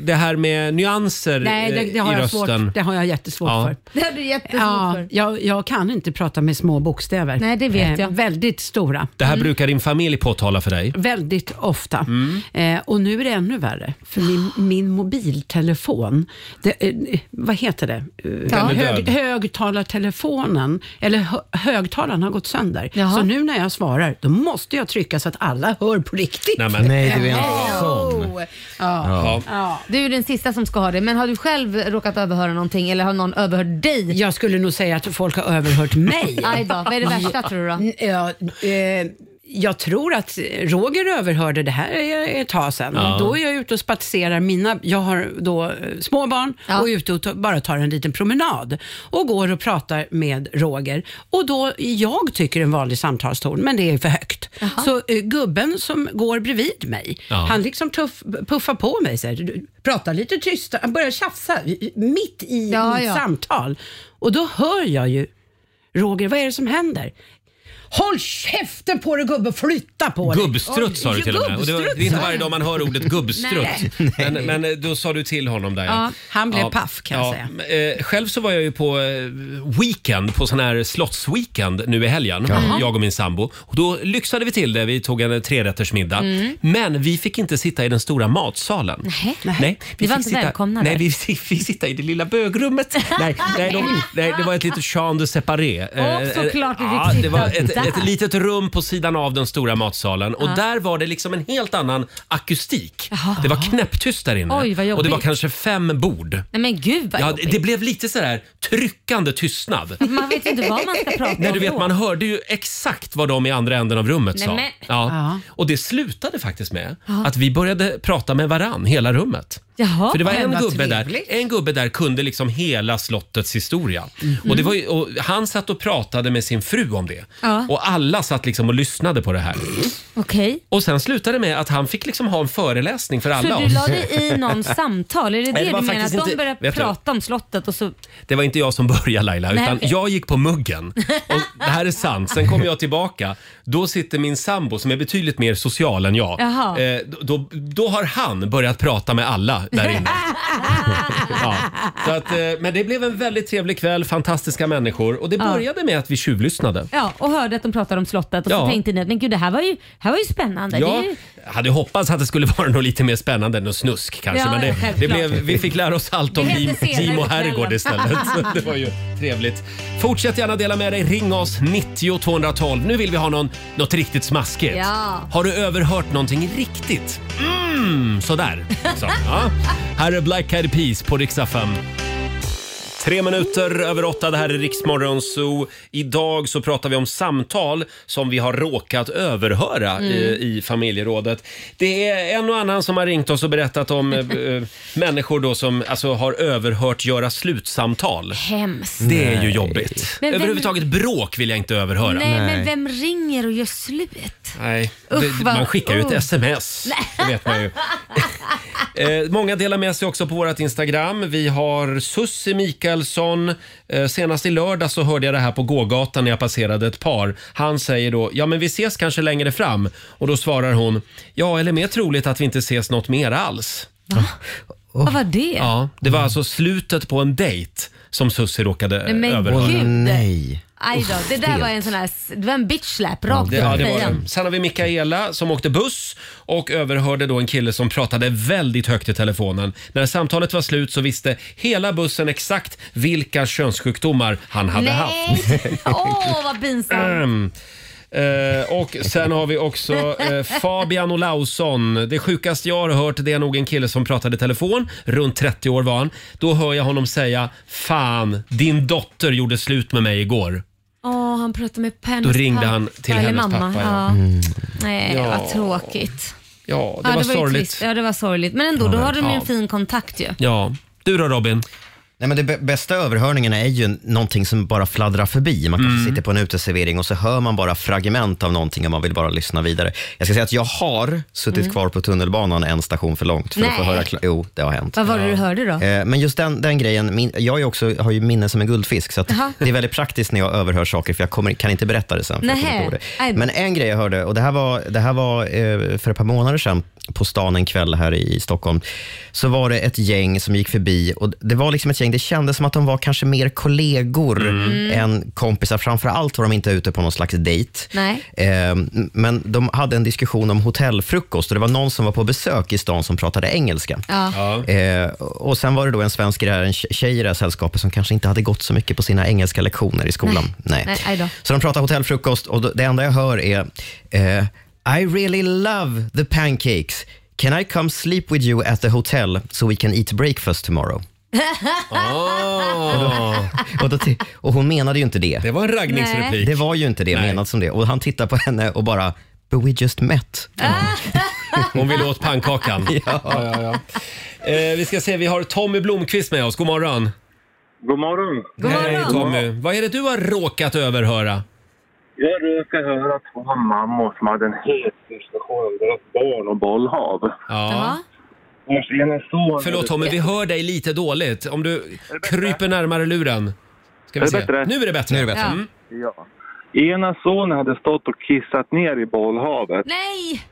det här med nyanser
Nej, det, det
eh,
har
i
jag
rösten.
svårt, det har jag jättesvårt
Ja.
för.
Det hade du jättesvårt
ja, Jag, jag kan inte prata med små bokstäver. Nej, det
vet jag.
Väldigt stora. Mm.
Det här
Mm.
brukar din familj påtala för dig.
Väldigt ofta.
Mm.
Eh, och nu är det ännu värre, för min, min mobiltelefon, det, eh, vad heter det? Eh,
Den är
hög,
död.
högtalartelefonen, eller hö, högtalaren har gått sönder.
Jaha.
Så nu när jag svarar, då måste jag trycka så att alla hör på riktigt. Eh,
Nej, men- Nej, du är en
Hello.
sån.
Ja.
Ja.
Ja.
Du är den sista som ska ha det, men har du själv råkat överhöra någonting eller har någon överhört dig?
Jag skulle nog säga att folk har överhört mig.
Aj då, vad är det värsta tror du då?
N- Ja, eh, jag tror att Roger överhörde det här är ett tag sedan.
Ja.
Då är jag ute och spatserar mina, jag har då eh, små barn och är ute och ta, bara tar en liten promenad och går och pratar med Roger. Och då, jag tycker en vanlig samtalston, men det är för högt. Så eh, gubben som går bredvid mig,
Ja.
han liksom tuff, puffar på mig, så här, "Du- pratar lite tyst, han börjar tjafsa i- mitt i
Ja,
mitt
ja.
samtal. Och då hör jag ju Roger, vad är det som händer? Håll käften på dig gubbe, flytta på dig!
Gubbstrutt sa du till och med. Och det, var, det är inte varje dag man hör ordet gubbstrutt. men, men eh, då sa du till honom där
Ja, han blev paff, kan jag
säga. eh, Själv så var jag ju på eh, weekend, på sån här slottsweekend nu i helgen.
Jaha.
Jag och min sambo. Och då lyxade vi till det. Vi tog en eh, trerättersmiddag.
Mm.
Men vi fick inte sitta i den stora matsalen.
Nej. Ni
Nej,
var
fick
inte
sitta,
välkomna
Nej,
där.
vi fick, fick sitta i det lilla bögrummet. nej, nej, de, nej, det var ett litet champ de séparé.
Åh,
Eh,
såklart vi fick
ja, Det
sitta
var ett,
där.
ett litet rum på sidan av den stora matsalen och
Ja.
där var det liksom en helt annan akustik. Det var knäpptyst där inne
Oj, vad jobbigt.
och det var kanske fem bord.
Nej men gud vad
Ja,
jobbigt.
det, det blev lite sådär tryckande tystnad.
Man vet ju inte vad man ska prata om
Nej, du vet,
då.
man hörde ju exakt vad de i andra änden av rummet
Nej,
sa.
men-
Ja.
Ja.
Och det slutade faktiskt med
Ja.
att vi började prata med varann, hela rummet.
Jaha.
För det var en
Vad
gubbe, där,
trevligt.
en gubbe där kunde liksom hela slottets historia.
Mhm.
Och det var ju, och han satt och pratade med sin fru om det.
Ja.
Och alla satt liksom och lyssnade på det här.
Okej.
Och sen slutade det med att han fick liksom ha en föreläsning för alla
Så du
oss.
la dig i någon samtal? Är
Nej,
det det,
det var
du menar? Att
faktiskt
de
inte-
började
vet du-
prata om slottet och så...
Det var inte jag som började Laila,
Nej,
utan
okej.
jag gick på muggen. Och det här är sant. Sen kom jag tillbaka. Då sitter min sambo som är betydligt mer social än jag.
Jaha.
Eh, då- då, då har han börjat prata med alla där inne. ja. Så att, eh, men det blev en väldigt trevlig kväll, fantastiska människor. Och det
Ja.
började med att vi tjuvlyssnade.
Ja, och hörde att de pratade om slottet och så
Ja.
tänkte ni att men gud det här var ju, här var ju spännande. Det är
Jag
ju...
hade hoppats att det skulle vara något lite mer spännande än något snusk kanske.
Ja,
men
ja,
det, det blev,
självklart.
vi fick lära oss allt om
Det
Jim-
hände senare
Jim och
på kvällen.
Herrgård istället. Så det var ju trevligt. Fortsätt gärna dela med dig. Ring oss 90 212. Nu vill vi ha någon, något riktigt smaskigt.
Ja.
Har du överhört någonting riktigt? Mm, sådär. Så, ja. Här är Black Eyed Peas på riksdag 5. Tre minuter över åtta, det här är Riksmorgon Zoo. Idag så pratar vi om samtal som vi har råkat överhöra
Mm.
i, i familjerådet. Det är en och annan som har ringt oss och berättat om eh, eh, människor då som alltså, har överhört göra slutsamtal.
Hemskt.
Det är ju jobbigt.
Men vem-
Överhuvudtaget bråk vill jag inte överhöra.
Nej, men vem ringer och gör slut?
Nej.
Usch,
Det-
vad-
man skickar ju ett
oh.
sms. Det vet man ju. Eh, många delar med sig också på vårt Instagram. Vi har Sussi Mikaelsson. Eh, senast i lördag så hörde jag det här på gågatan när jag passerade ett par. Han säger då, ja men vi ses kanske längre fram. Och då svarar hon, ja eller mer troligt att vi inte ses något mer alls.
Vad var det?
Ja, det var alltså slutet på en dejt som Sussi råkade
Nej, men
överhöra.
gud.
nej.
Aj då, det där
Helt.
var en sån här, det var en bitch slap rakt
det,
upp
ja,
i
det var
fejan.
det. Sen har vi Mikaela som åkte buss och överhörde då en kille som pratade väldigt högt i telefonen. När samtalet var slut så visste hela bussen exakt vilka könssjukdomar han hade
Nej.
haft.
Åh, vad pinsamt.
Ehm, eh, och sen har vi också eh, Fabian Olausson. Det sjukaste jag har hört det är nog en kille som pratade i telefon. Runt 30 år var han. Då hör jag honom säga “Fan, din dotter gjorde slut med mig igår”.
Åh, han pratade med hennes
Då ringde
pappa.
han till
Eller
hennes
mamma.
pappa, ja.
Ja.
Mm.
Nej,
Ja.
vad tråkigt.
Ja, det
ja,
var
ju
sorgligt.
trist. Ja, det var sorgligt. Men ändå, då
Ja,
har de ju en
ja.
fin kontakt ju.
Ja. Du då Robin?
Nej, men det bä- bästa överhörningen är ju någonting som bara fladdrar förbi. Man
Mm.
kanske sitter på en uteservering och så hör man bara fragment av någonting och man vill bara lyssna vidare. Jag ska säga att jag har suttit
Mm.
kvar på tunnelbanan en station för långt för att få
Nej.
höra klart. Jo, det har hänt.
Vad var det du hörde då?
Eh, Men just den, den grejen, min, jag är också, har ju minne som en guldfisk, så att
Jaha.
det är väldigt praktiskt när jag överhör saker, för jag kommer, kan inte berätta det sen. för jag kommer
Nähä.
inte ihåg
Nej.
det. Men en grej jag hörde, och det här var, det här var eh, för ett par månader sedan, på stan en kväll här i i Stockholm, så var det ett gäng som gick förbi och det var liksom ett gäng, det kändes som att de var kanske mer kollegor
Mm.
än kompisar. Framför allt var de inte ute på någon slags dejt.
Nej.
Eh, Men de hade en diskussion om hotellfrukost och det var någon som var på besök i stan som pratade engelska.
Ja.
Eh, och sen var det då en svensk i det här, en tje- tjej i det här sällskapet som kanske inte hade gått så mycket på sina engelska lektioner i skolan. Nej.
Nej, aj då.
Så de pratar hotellfrukost och då- det enda jag hör är eh, I really love the pancakes. Can I come sleep with you at the hotel so we can eat breakfast tomorrow?
Eh.
Och, då, och, då, ti- och hon menade ju inte det. Det
var en
raggningsreplik. Nej.
Det var ju inte det menat som det. Och han tittar på henne och bara But we just met.
Hon ville åt pannkakan.
Ja.
Ja, ja, ja. Eh, vi ska se, vi har Tommy Blomqvist med oss. God morgon.
God morgon.
Hej Tommy. Vad är det du har råkat överhöra?
Jag råkar höra två mammor som hade en het diskussion om deras barn och bollhav.
Ja.
Vars ena son...
Förlåt Tommy, vi hör dig lite dåligt. Om du kryper närmare luren. Ska
Är
vi
det
se.
bättre?
Nu är det bättre.
Nu är det bättre. Ja.
Mm.
Ja. Ena sonen hade stått och kissat ner i bollhavet.
Nej!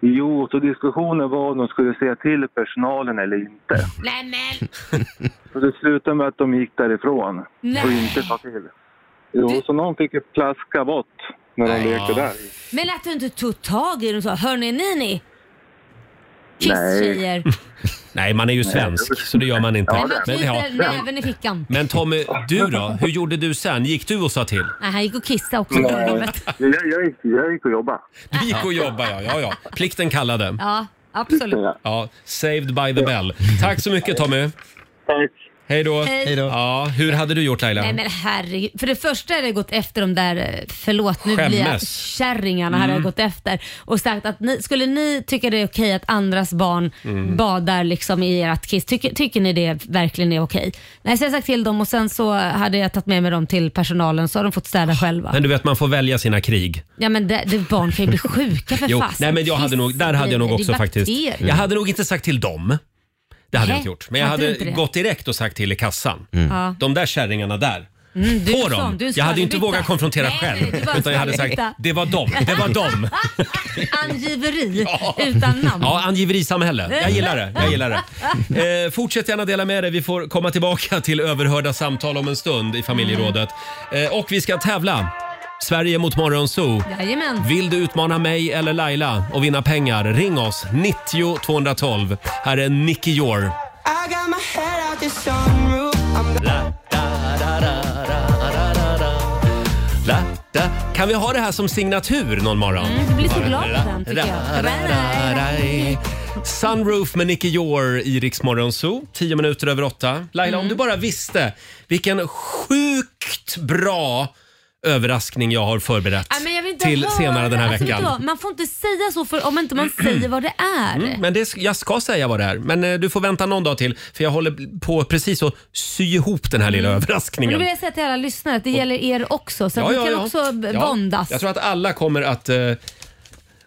Jo, så diskussionen var om de skulle säga till personalen eller inte.
Nej men!
Så det slutade med att de gick därifrån och
Nej.
inte sa till. Jo, så någon fick ju plaska bort när de lekte där.
Men att du inte tog tag i dem och sa, hörni ni ni. Kiss
Nej.
tjejer.
Nej, man är ju svensk, så det gör man inte.
Men man
Men, Mm. ja.
knyter näven i fickan.
Men Tommy, du då? Hur gjorde du sen? Gick du och sa till?
Nej, han gick och kissade också. på
Nej.
golvet.
Jag, jag, gick, jag gick och jobbade.
Du gick och jobbade, ja. ja, ja. Plikten kallade.
Ja, absolut.
Ja, saved by the bell. Tack så mycket Tommy.
Tack.
Hej då.
Hej. Hej då.
Ja, hur hade du gjort Laila?
Nej men herregud. För det första hade jag gått efter de där, eh, förlåt nu blir jag
Skämmes.
kärringarna hade jag
Mm.
gått efter och sagt att ni, skulle ni tycka det är okej att andras barn
Mm.
badar liksom i ert kiss? Tycker, tycker ni det verkligen är okej? Nej, så har jag sagt till dem och sen så hade jag tagit med mig dem till personalen så har de fått städa själva.
Men du vet, man får välja sina krig.
Ja men det, det, barn kan ju bli sjuka för
Jo,
fasen.
nej, men jag hade nog, där hade jag nog
Det är
också faktiskt.
bakterier.
Jag hade nog inte sagt till dem. Det hade
Nej,
jag inte gjort. Men jag
hade du
hade
inte det?
gått direkt och sagt till i kassan.
Ja.
De där kärringarna där.
Mm, du är
På
en sån,
dem!
du är en
jag hade ju inte
skvallerbytta.
vågat konfrontera
Nej,
själv.
du var en
Utan jag hade sagt,
skvallerbytta.
det var dem, det var dem.
Angiveri utan namn.
Ja, angiverisamhälle. Jag gillar det. Jag gillar det. Eh, fortsätt gärna dela med dig. Vi får komma tillbaka till överhörda samtal om en stund i familjerådet. Eh, och vi ska tävla. Sverige mot Morgonzoo.
Jajamän.
Vill du utmana mig eller Laila och vinna pengar? Ring oss, 90 212. Här är Nicky Jor.
I got my head out the sunroof. I'm
La, da. Kan vi ha det här som signatur någon morgon?
Mm, du blir så glad av den, tycker jag.
Ra, ra, ra, ra. Sunroof med Nicky Jor i Rix Morgon Zoo. Tio minuter över åtta. Laila, om du
Mm.
bara visste vilken sjukt bra överraskning jag har förberett
Nej, Äh, men jag vill inte
till
höra.
senare den här
Alltså, vet
veckan.
du vad? man får inte säga så för om inte man säger vad det är.
Mm, men det, sk- jag ska säga vad det är. Men eh, du får vänta någon dag till för jag håller på precis att sy ihop den här lilla
Mm. Men då
överraskningen.
vill jag säga till alla lyssnare att det gäller er också så att ni kan också b-
Ja,
bondas.
Jag tror att alla kommer att eh,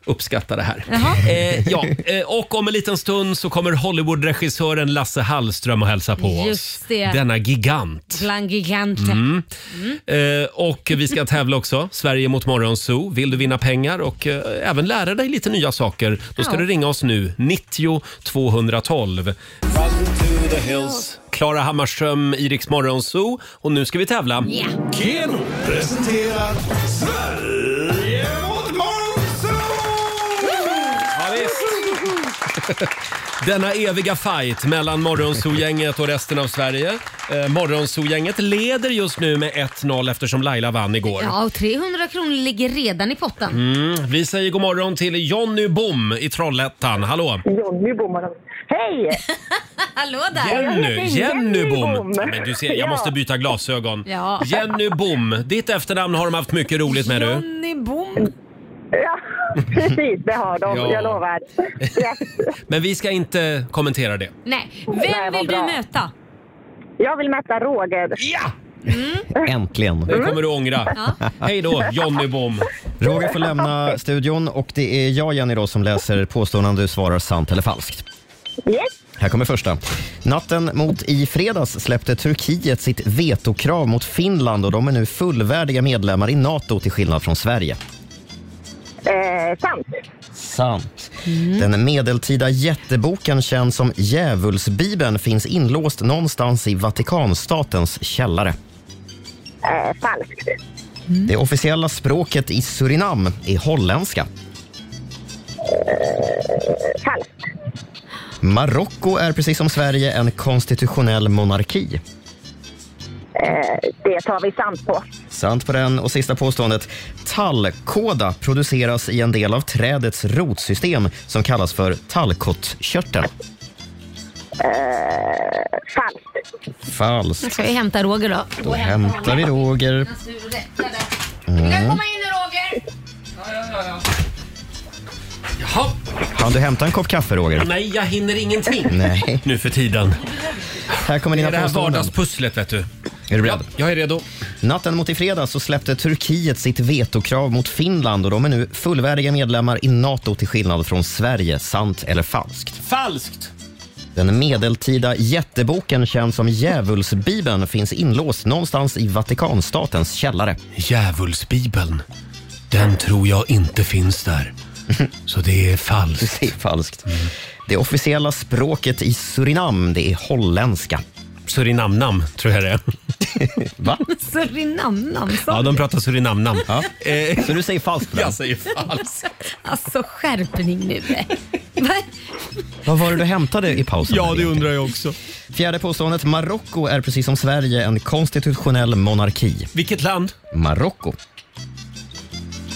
uppskatta det här.
Jaha.
Eh, ja. eh, och om en liten stund så kommer Hollywoodregissören Lasse Hallström och hälsa på oss.
Just det.
Denna gigant.
Bland giganter.
Mm.
Mm.
Eh, och vi ska tävla också. Sverige mot Morgonzoo. Vill du vinna pengar och eh, även lära dig lite nya saker, då ska
Ja.
du ringa oss nu. 90 212. Klara Hammarström i Rix Morgonzoo. Och nu ska vi tävla.
Keno presenterar Sverige mot
Denna eviga fight mellan Morgonzoo-gänget och resten av Sverige. Eh, Morgonzoo-gänget leder just nu med 1-0 eftersom Laila vann igår.
Ja, och 300 kronor ligger redan i potten.
Mm. Vi säger god morgon till Jonny Bom i Trollhättan. Hallå!
Jonny Bomman. Hej!
Hallå där!
Jenny, Jenny Bom!
Bom.
Men du ser, jag
Ja.
måste byta glasögon.
Ja.
Jenny Bom, ditt efternamn har de haft mycket roligt med du.
Jenny Bom.
Ja, precis. Det har de.
Ja.
Jag lovar. Ja.
Men vi ska inte kommentera det.
Nej,
Nej,
vem
vad
vill
bra.
du möta?
Jag vill möta Roger. Ja!
Äntligen.
Det
Mm.
kommer du ångra. Hej då, Jonny Bom.
Roger får lämna studion och det är jag, Jenny, då, som läser påståenden du svarar sant eller falskt.
Yes.
Här kommer första. Natten mot i fredags släppte Turkiet sitt vetokrav mot Finland och de är nu fullvärdiga medlemmar i Nato till skillnad från Sverige.
Eh, sant.
Sant. Den medeltida jätteboken känd som Djävulsbibeln finns inlåst någonstans i Vatikanstatens källare.
Eh, falskt.
Mm. Det officiella språket i Surinam är holländska.
Falskt.
Marocko är precis som Sverige en konstitutionell monarki.
Eh, det tar vi sant på.
Sant på den. Och sista påståendet. Tallkåda produceras i en del av trädets rotsystem som kallas för tallkottkörteln.
Eh, falskt.
Falskt.
Ska vi hämta Roger då?
Då hämtar vi Roger. Mm.
in Roger!
Jaha,
Kan du hämta en kopp kaffe, Roger?
nej jag hinner ingenting.
Nej.
Nu för tiden.
Här kommer
Det
dina
är det här
påståenden.
vardagspusslet vet du.
Är du beredd?
jag är redo.
Natten mot i fredags så släppte Turkiet sitt vetokrav mot Finland och de är nu fullvärdiga medlemmar i Nato till skillnad från Sverige. Sant eller falskt?
Falskt!
Den medeltida jätteboken känd som Djävulsbibeln finns inlåst någonstans i Vatikanstatens källare.
Djävulsbibeln, den tror jag inte finns där. Så det är falskt.
Det är falskt. Det officiella språket i Surinam, det är holländska.
Surinamnam, tror jag det är.
Va?
Surinamnam sa
Ja, de pratar surinamnam.
Eh, Så du säger falskt?
Jag säger falskt.
Alltså skärpning nu. Va?
Vad var det du hämtade i pausen?
Ja, det undrar jag också.
Fjärde påståendet. Marocko är precis som Sverige en konstitutionell monarki.
Vilket land?
Marocko.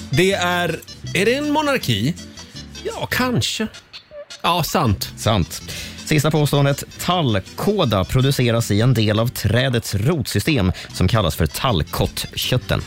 Det är... Är det en monarki? Ja, kanske. Ja, sant.
Sant. Sista påståendet. Tallkåda produceras i en del av trädets rotsystem som kallas för tallkottkötteln.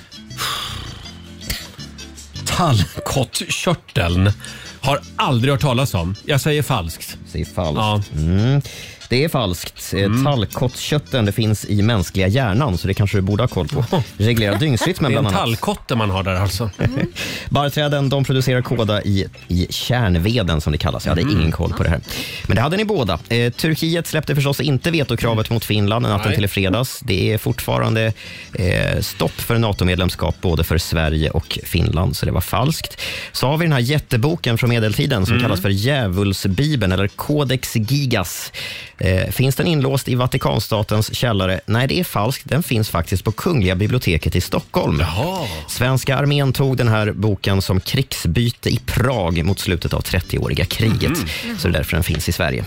Tallkottkörteln har aldrig hört talas om. Jag säger falskt.
Det är falskt. Mm. Det är falskt. Mm. Tallkottkötteln det finns i mänskliga hjärnan, så det kanske du borde ha koll på. Reglerar dygnsrytmen
det är
bland
en
annat.
tallkotte man har där alltså.
Barrträden de producerar kåda i, i kärnveden som det kallas. Jag hade
Mm.
ingen koll på det här. Men det hade ni båda. Eh, Turkiet släppte förstås inte vetokravet mot Finland natten
Mm. Nej.
till i fredags. Det är fortfarande eh, stopp för NATO-medlemskap både för Sverige och Finland, så det var falskt. Så har vi den här jätteboken från medeltiden som
Mm.
kallas för Djävulsbibeln eller Codex Gigas. Eh, finns den inlåst i Vatikanstatens källare? Nej, det är falskt. Den finns faktiskt på Kungliga biblioteket i Stockholm. Svenska armén tog den här boken som krigsbyte i Prag mot slutet av 30-åriga kriget.
Mhm.
Så det är därför den finns i Sverige.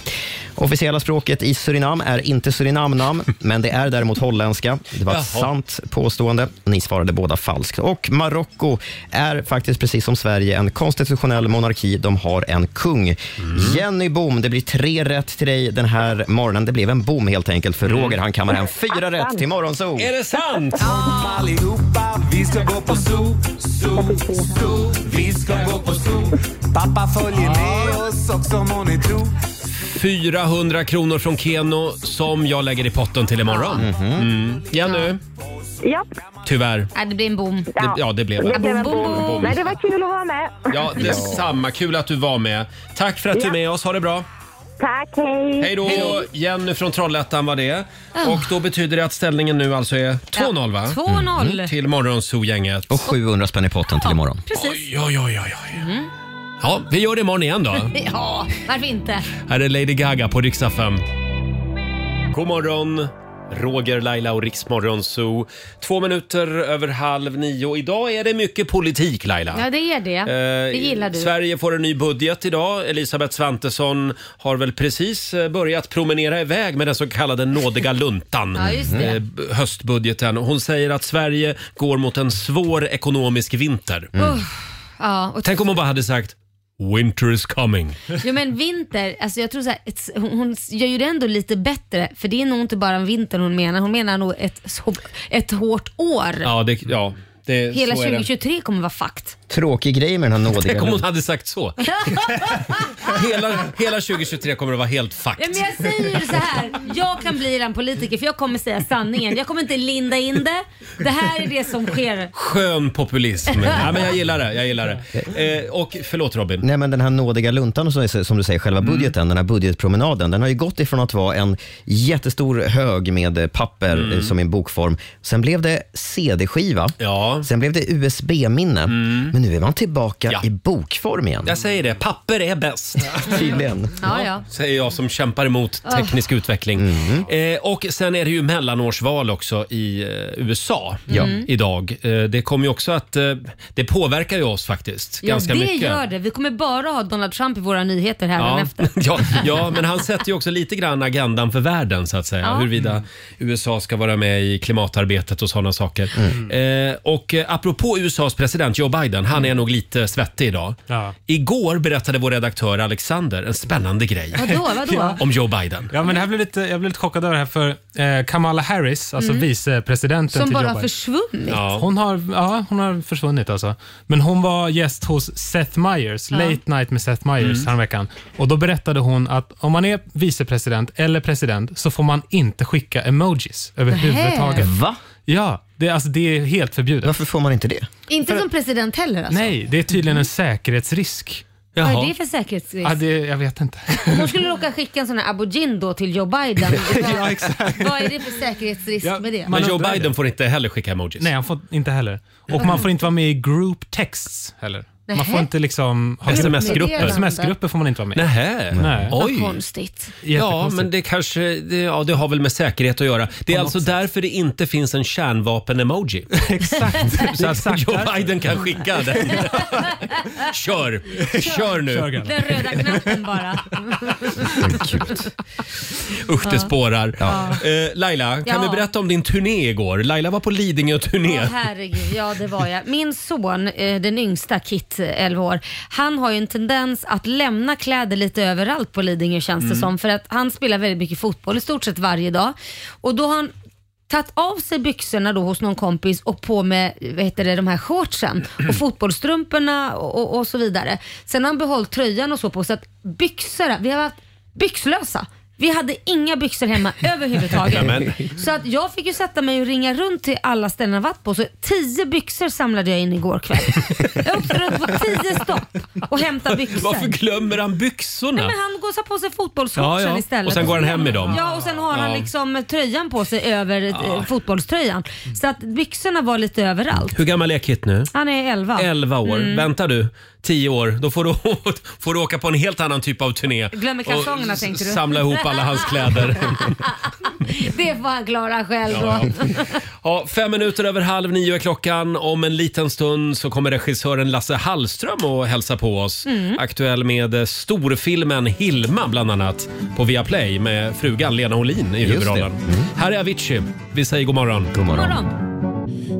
Officiella språket i Surinam är inte surinamnam, men det är däremot holländska. Det var ett
Jaha.
sant påstående. Ni svarade båda falskt. Och Marocko är faktiskt precis som Sverige en konstitutionell monarki. De har en kung.
Mm.
Jenny Bom, det blir tre rätt till dig den här morgonen. Det blev en bom helt enkelt
Mm.
för Roger. Han kammar hem fyra rätt till Morgonzoo.
Är det sant?
Allihopa, vi ska gå på zoo, zoo, zoo. Vi ska gå på zoo. Pappa följer med oss också må ni tro.
Mhm.
400 kronor från Keno som jag lägger i potten till imorgon. Mm. Jenny,
Ja.
Tyvärr.
Nej, det blir en bom.
Det- ja, det blev en
blev en
bom,
bom.
bom, bom.
Nej, det var kul att vara med.
Ja, detsamma. Kul att du var med. Tack för att du är
Ja.
med oss. Ha det bra.
Tack, hej.
Hej då! Jenny från Trollhättan var det.
Ah.
Och då betyder det att ställningen nu alltså är 2-0 va? Mm.
Ja, 2-0.
Till Morgonzoo-gänget. Och
700 spänn i potten till imorgon.
Precis.
Oj, oj, oj, oj.
Mm.
Ja, vi gör det imorgon igen då.
Ja, varför inte?
Här är Lady Gaga på riksdag 5. God morgon, Roger, Laila och Riksmorgon Zoo. Två minuter över halv nio. Idag är det mycket politik Laila.
Ja, det är det.
Eh,
det gillar du.
Sverige får en ny budget idag. Elisabeth Svantesson har väl precis eh, börjat promenera iväg med den så kallade nådiga luntan.
Ja, just det.
Eh, b- höstbudgeten. Hon säger att Sverige går mot en svår ekonomisk vinter.
Uff, ja, Mm. och
Mm. Tänk om hon bara hade sagt “Winter is coming”.
Jo men vinter, alltså jag tror så här, ett, hon, hon gör ju det ändå lite bättre för det är nog inte bara en vinter hon menar, hon menar nog ett, så- ett hårt år.
Ja, det, ja, det,
Hela
så är det.
2023 kommer vara fakt.
Tråkig grej med den här nådiga
Tänk om hon hade sagt så. Hela, hela 2023 kommer det vara helt fuck.
Ja, men jag säger ju så här, jag kan bli den politiker för jag kommer säga sanningen. Jag kommer inte linda in det. Det här är det som sker.
Skön populism. Ja, men jag gillar det. Jag gillar det. Eh, och förlåt Robin. Mm.
Nej, men den här nådiga luntan som, som du säger, själva budgeten, den här budgetpromenaden, den har ju gått ifrån att vara en jättestor hög med eh, papper
Mm.
eh, som i en bokform. Sen blev det CD-skiva. Sen blev det USB-minne.
Mm.
Men nu är man tillbaka i bokform igen.
Jag säger det, papper är bäst.
Tydligen.
Ja, Ah. ja.
Säger jag som kämpar emot teknisk utveckling.
Mm.
Eh, och sen är det ju mellanårsval också i eh, USA
Ja. Mm.
idag. Eh, det kommer ju också att, eh, det påverkar ju oss faktiskt
Ja,
ganska
det
mycket.
gör det. Vi kommer bara ha Donald Trump i våra nyheter här
Ja,
efter.
ja, ja, men han sätter ju också lite grann agendan för världen så att säga.
Ja. Mm.
Huruvida USA ska vara med i klimatarbetet och sådana saker. Eh, och eh, apropå USAs president Joe Biden, han är nog lite svettig idag. Igår berättade vår redaktör Alexander en spännande grej.
Vadå, vadå? Ja.
Om Joe Biden.
Ja, men det här blev lite, jag blev lite chockad över det här för eh, Kamala Harris, alltså
Mm.
vicepresidenten
Som
till
bara
Joe
har
Biden.
försvunnit.
Hon, har, ja, hon har försvunnit alltså. Men hon var gäst hos Seth Meyers,
Ja.
Late Night med Seth Meyers
Mm.
häromveckan. Och då berättade hon att om man är vicepresident eller president så får man inte skicka emojis överhuvudtaget.
Nähä.
Va?
Ja, det, alltså, det är helt förbjudet.
Varför får man inte det?
Inte som president heller alltså?
Nej, det är tydligen en säkerhetsrisk.
Vad är det för säkerhetsrisk?
Ja, det, jag vet inte.
De skulle råka skicka en sån här abogin då till Joe Biden.
ja, exakt.
Vad är det för säkerhetsrisk med det?
Men Joe Biden får inte heller skicka emojis.
Nej, han får inte heller. Och
Mm.
man får inte vara med i group texts heller. Man
Nähä.
får inte liksom... ha-
SMS-grupper.
SMS-grupper får man inte vara med i.
Nähä.
Nej.
Oj.
Konstigt.
Ja, men det kanske det, ja, det har väl med säkerhet att göra. Det är alltså därför det inte finns en kärnvapen-emoji. exakt. Typ Så att Joe Biden kan skicka den. Kör! Kör nu!
Den röda knappen bara.
Usch, det
Ja.
spårar.
Ja.
Eh, Laila, kan
Ja.
vi berätta om din turné igår? Laila var på Lidingö-turné.
Åh, herregud, ja det var jag. Min son, eh, den yngsta, Kit, eh, 11 år, han har ju en tendens att lämna kläder lite överallt på Lidingö känns det
Mm.
som. För att han spelar väldigt mycket fotboll i stort sett varje dag. Och då har han tagit av sig byxorna då hos någon kompis och på med vad heter det, de här shortsen och fotbollsstrumporna och, och, och så vidare. Sen har han behållit tröjan och så på så att byxorna, vi har varit byxlösa. Vi hade inga byxor hemma överhuvudtaget.
Nämen.
Så att jag fick ju sätta mig och ringa runt till alla ställen jag varit på. Så tio byxor samlade jag in igår kväll. Jag åkte runt på tio stopp och hämtade byxor.
Varför glömmer han byxorna?
Nej, men han går och tar på sig fotbollsshortsen
Ja, ja.
istället.
Och sen går han hem i dem.
Ja, och sen har han
Ja.
liksom tröjan på sig över eh, fotbollströjan. Så att byxorna var lite överallt.
Hur gammal är Kit nu?
Han är 11.
11 år.
Mm.
Väntar du 10 år, då får du, får du åka på en helt annan typ av turné.
Glömmer
Och
kalsongerna,
s-
tänkte du?
Samla ihop alla hans kläder.
Det får han klara själv då.
Ja, Ja, fem minuter över halv nio är klockan. Om en liten stund så kommer regissören Lasse Hallström och hälsa på oss.
Mm.
Aktuell med eh, storfilmen Hilma bland annat på Viaplay med frugan Lena Olin i
Just
huvudrollen. Här är Avicii. Vi säger Mm. god morgon.
God
morgon.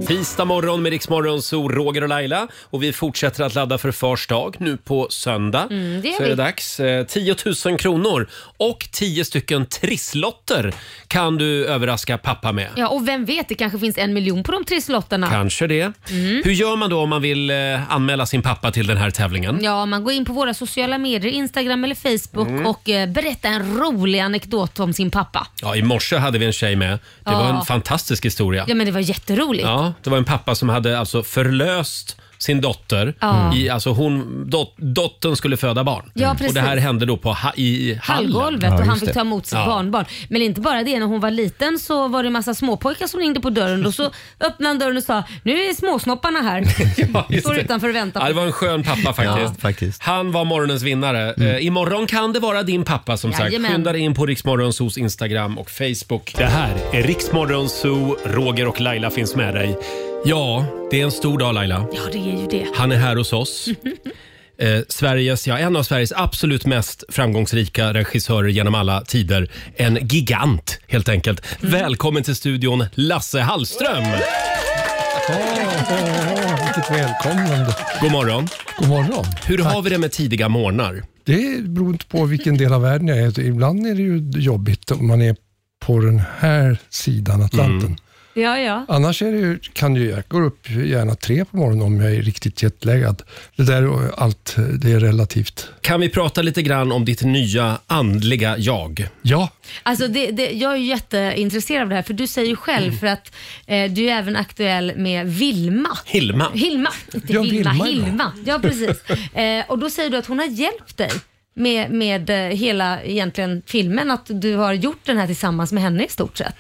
Tisdag morgon med Riksmorgon, så Roger och Laila. Och vi fortsätter att ladda för Fars dag nu på söndag.
Mm, det gör
så är det
vi.
dags. Eh, 10 000 kronor och 10 stycken trisslotter kan du överraska pappa med.
Ja, och vem vet, det kanske finns en miljon på de trisslotterna.
Kanske det.
Mm.
Hur gör man då om man vill eh, anmäla sin pappa till den här tävlingen?
Ja, man går in på våra sociala medier, Instagram eller Facebook
Mm.
och eh, berättar en rolig anekdot om sin pappa.
Ja, i morse hade vi en tjej med. Det var
Ja.
en fantastisk historia.
Ja, men det var jätteroligt.
Ja, det var en pappa som hade alltså förlöst sin dotter.
Ja.
I, alltså hon, dot, dottern skulle föda barn.
Ja, precis.
Och det här hände då på ha, i hallen.
Hallgolvet och han fick ta emot sitt
Ja.
barnbarn. Men inte bara det, när hon var liten så var det en massa småpojkar som ringde på dörren och så öppnade han dörren och sa nu är småsnopparna här.
just
Står
det.
utanför och väntar.
Ja, det var en skön pappa faktiskt.
Ja, faktiskt. Mm.
Han var morgonens vinnare. Eh, imorgon kan det vara din pappa som
Jajamän.
sagt. Skynda dig in på Riksmorgonsos Instagram och Facebook. Det här är Riksmorgonso. Roger och Laila finns med dig. Ja, det är en stor dag Laila.
Ja, det är ju det.
Han är här hos oss. Eh, Sveriges, ja, en av Sveriges absolut mest framgångsrika regissörer genom alla tider. En gigant, helt enkelt.
Mm.
Välkommen till studion, Lasse Hallström!
Åh, vilket välkomnande.
God morgon.
God morgon.
Hur har vi det med tidiga morgnar?
Det beror inte på vilken del av världen jag är. Ibland är det ju jobbigt om man är på den här sidan Atlanten.
Mm. Ja, ja.
Annars är det ju, kan ju, jag går upp gärna tre på morgonen om jag är riktigt jetlaggad. Det där och allt, det är relativt.
Kan vi prata lite grann om ditt nya andliga jag?
Ja.
Alltså det, det, jag är ju jätteintresserad av det här för du säger ju själv
Mm.
för att eh, du är även aktuell med Vilma.
Hilma.
Hilma, inte
Ja,
Vilma.
Vilma,
Hilma.
ja.
Ja, precis. Eh, och då säger du att hon har hjälpt dig med, med eh, hela egentligen filmen, att du har gjort den här tillsammans med henne i stort sett.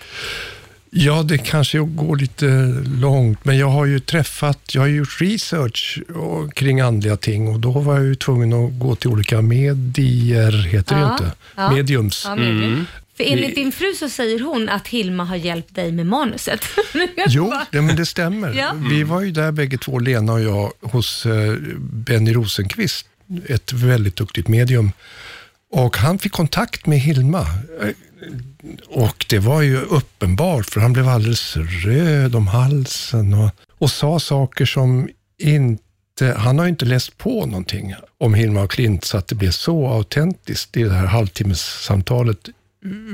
Ja, det kanske går lite långt, men jag har ju träffat, jag har ju gjort research och- kring andliga ting och då var jag ju tvungen att gå till olika medier, heter det
Ja,
ju inte?
ja.
Mediums.
Ja, medium.
Mm.
För enligt din fru så säger hon att Hilma har hjälpt dig med manuset.
Jo, det, men det stämmer.
Ja.
Vi var ju där bägge två, Lena och jag, hos eh, Benny Rosenqvist, ett väldigt duktigt medium. Och han fick kontakt med Hilma. Eh, Och det var ju uppenbart, för han blev alldeles röd om halsen och, och sa saker som inte... Han har ju inte läst på någonting om Hilma och Klint, så att det blev så autentiskt i det här halvtimmessamtalet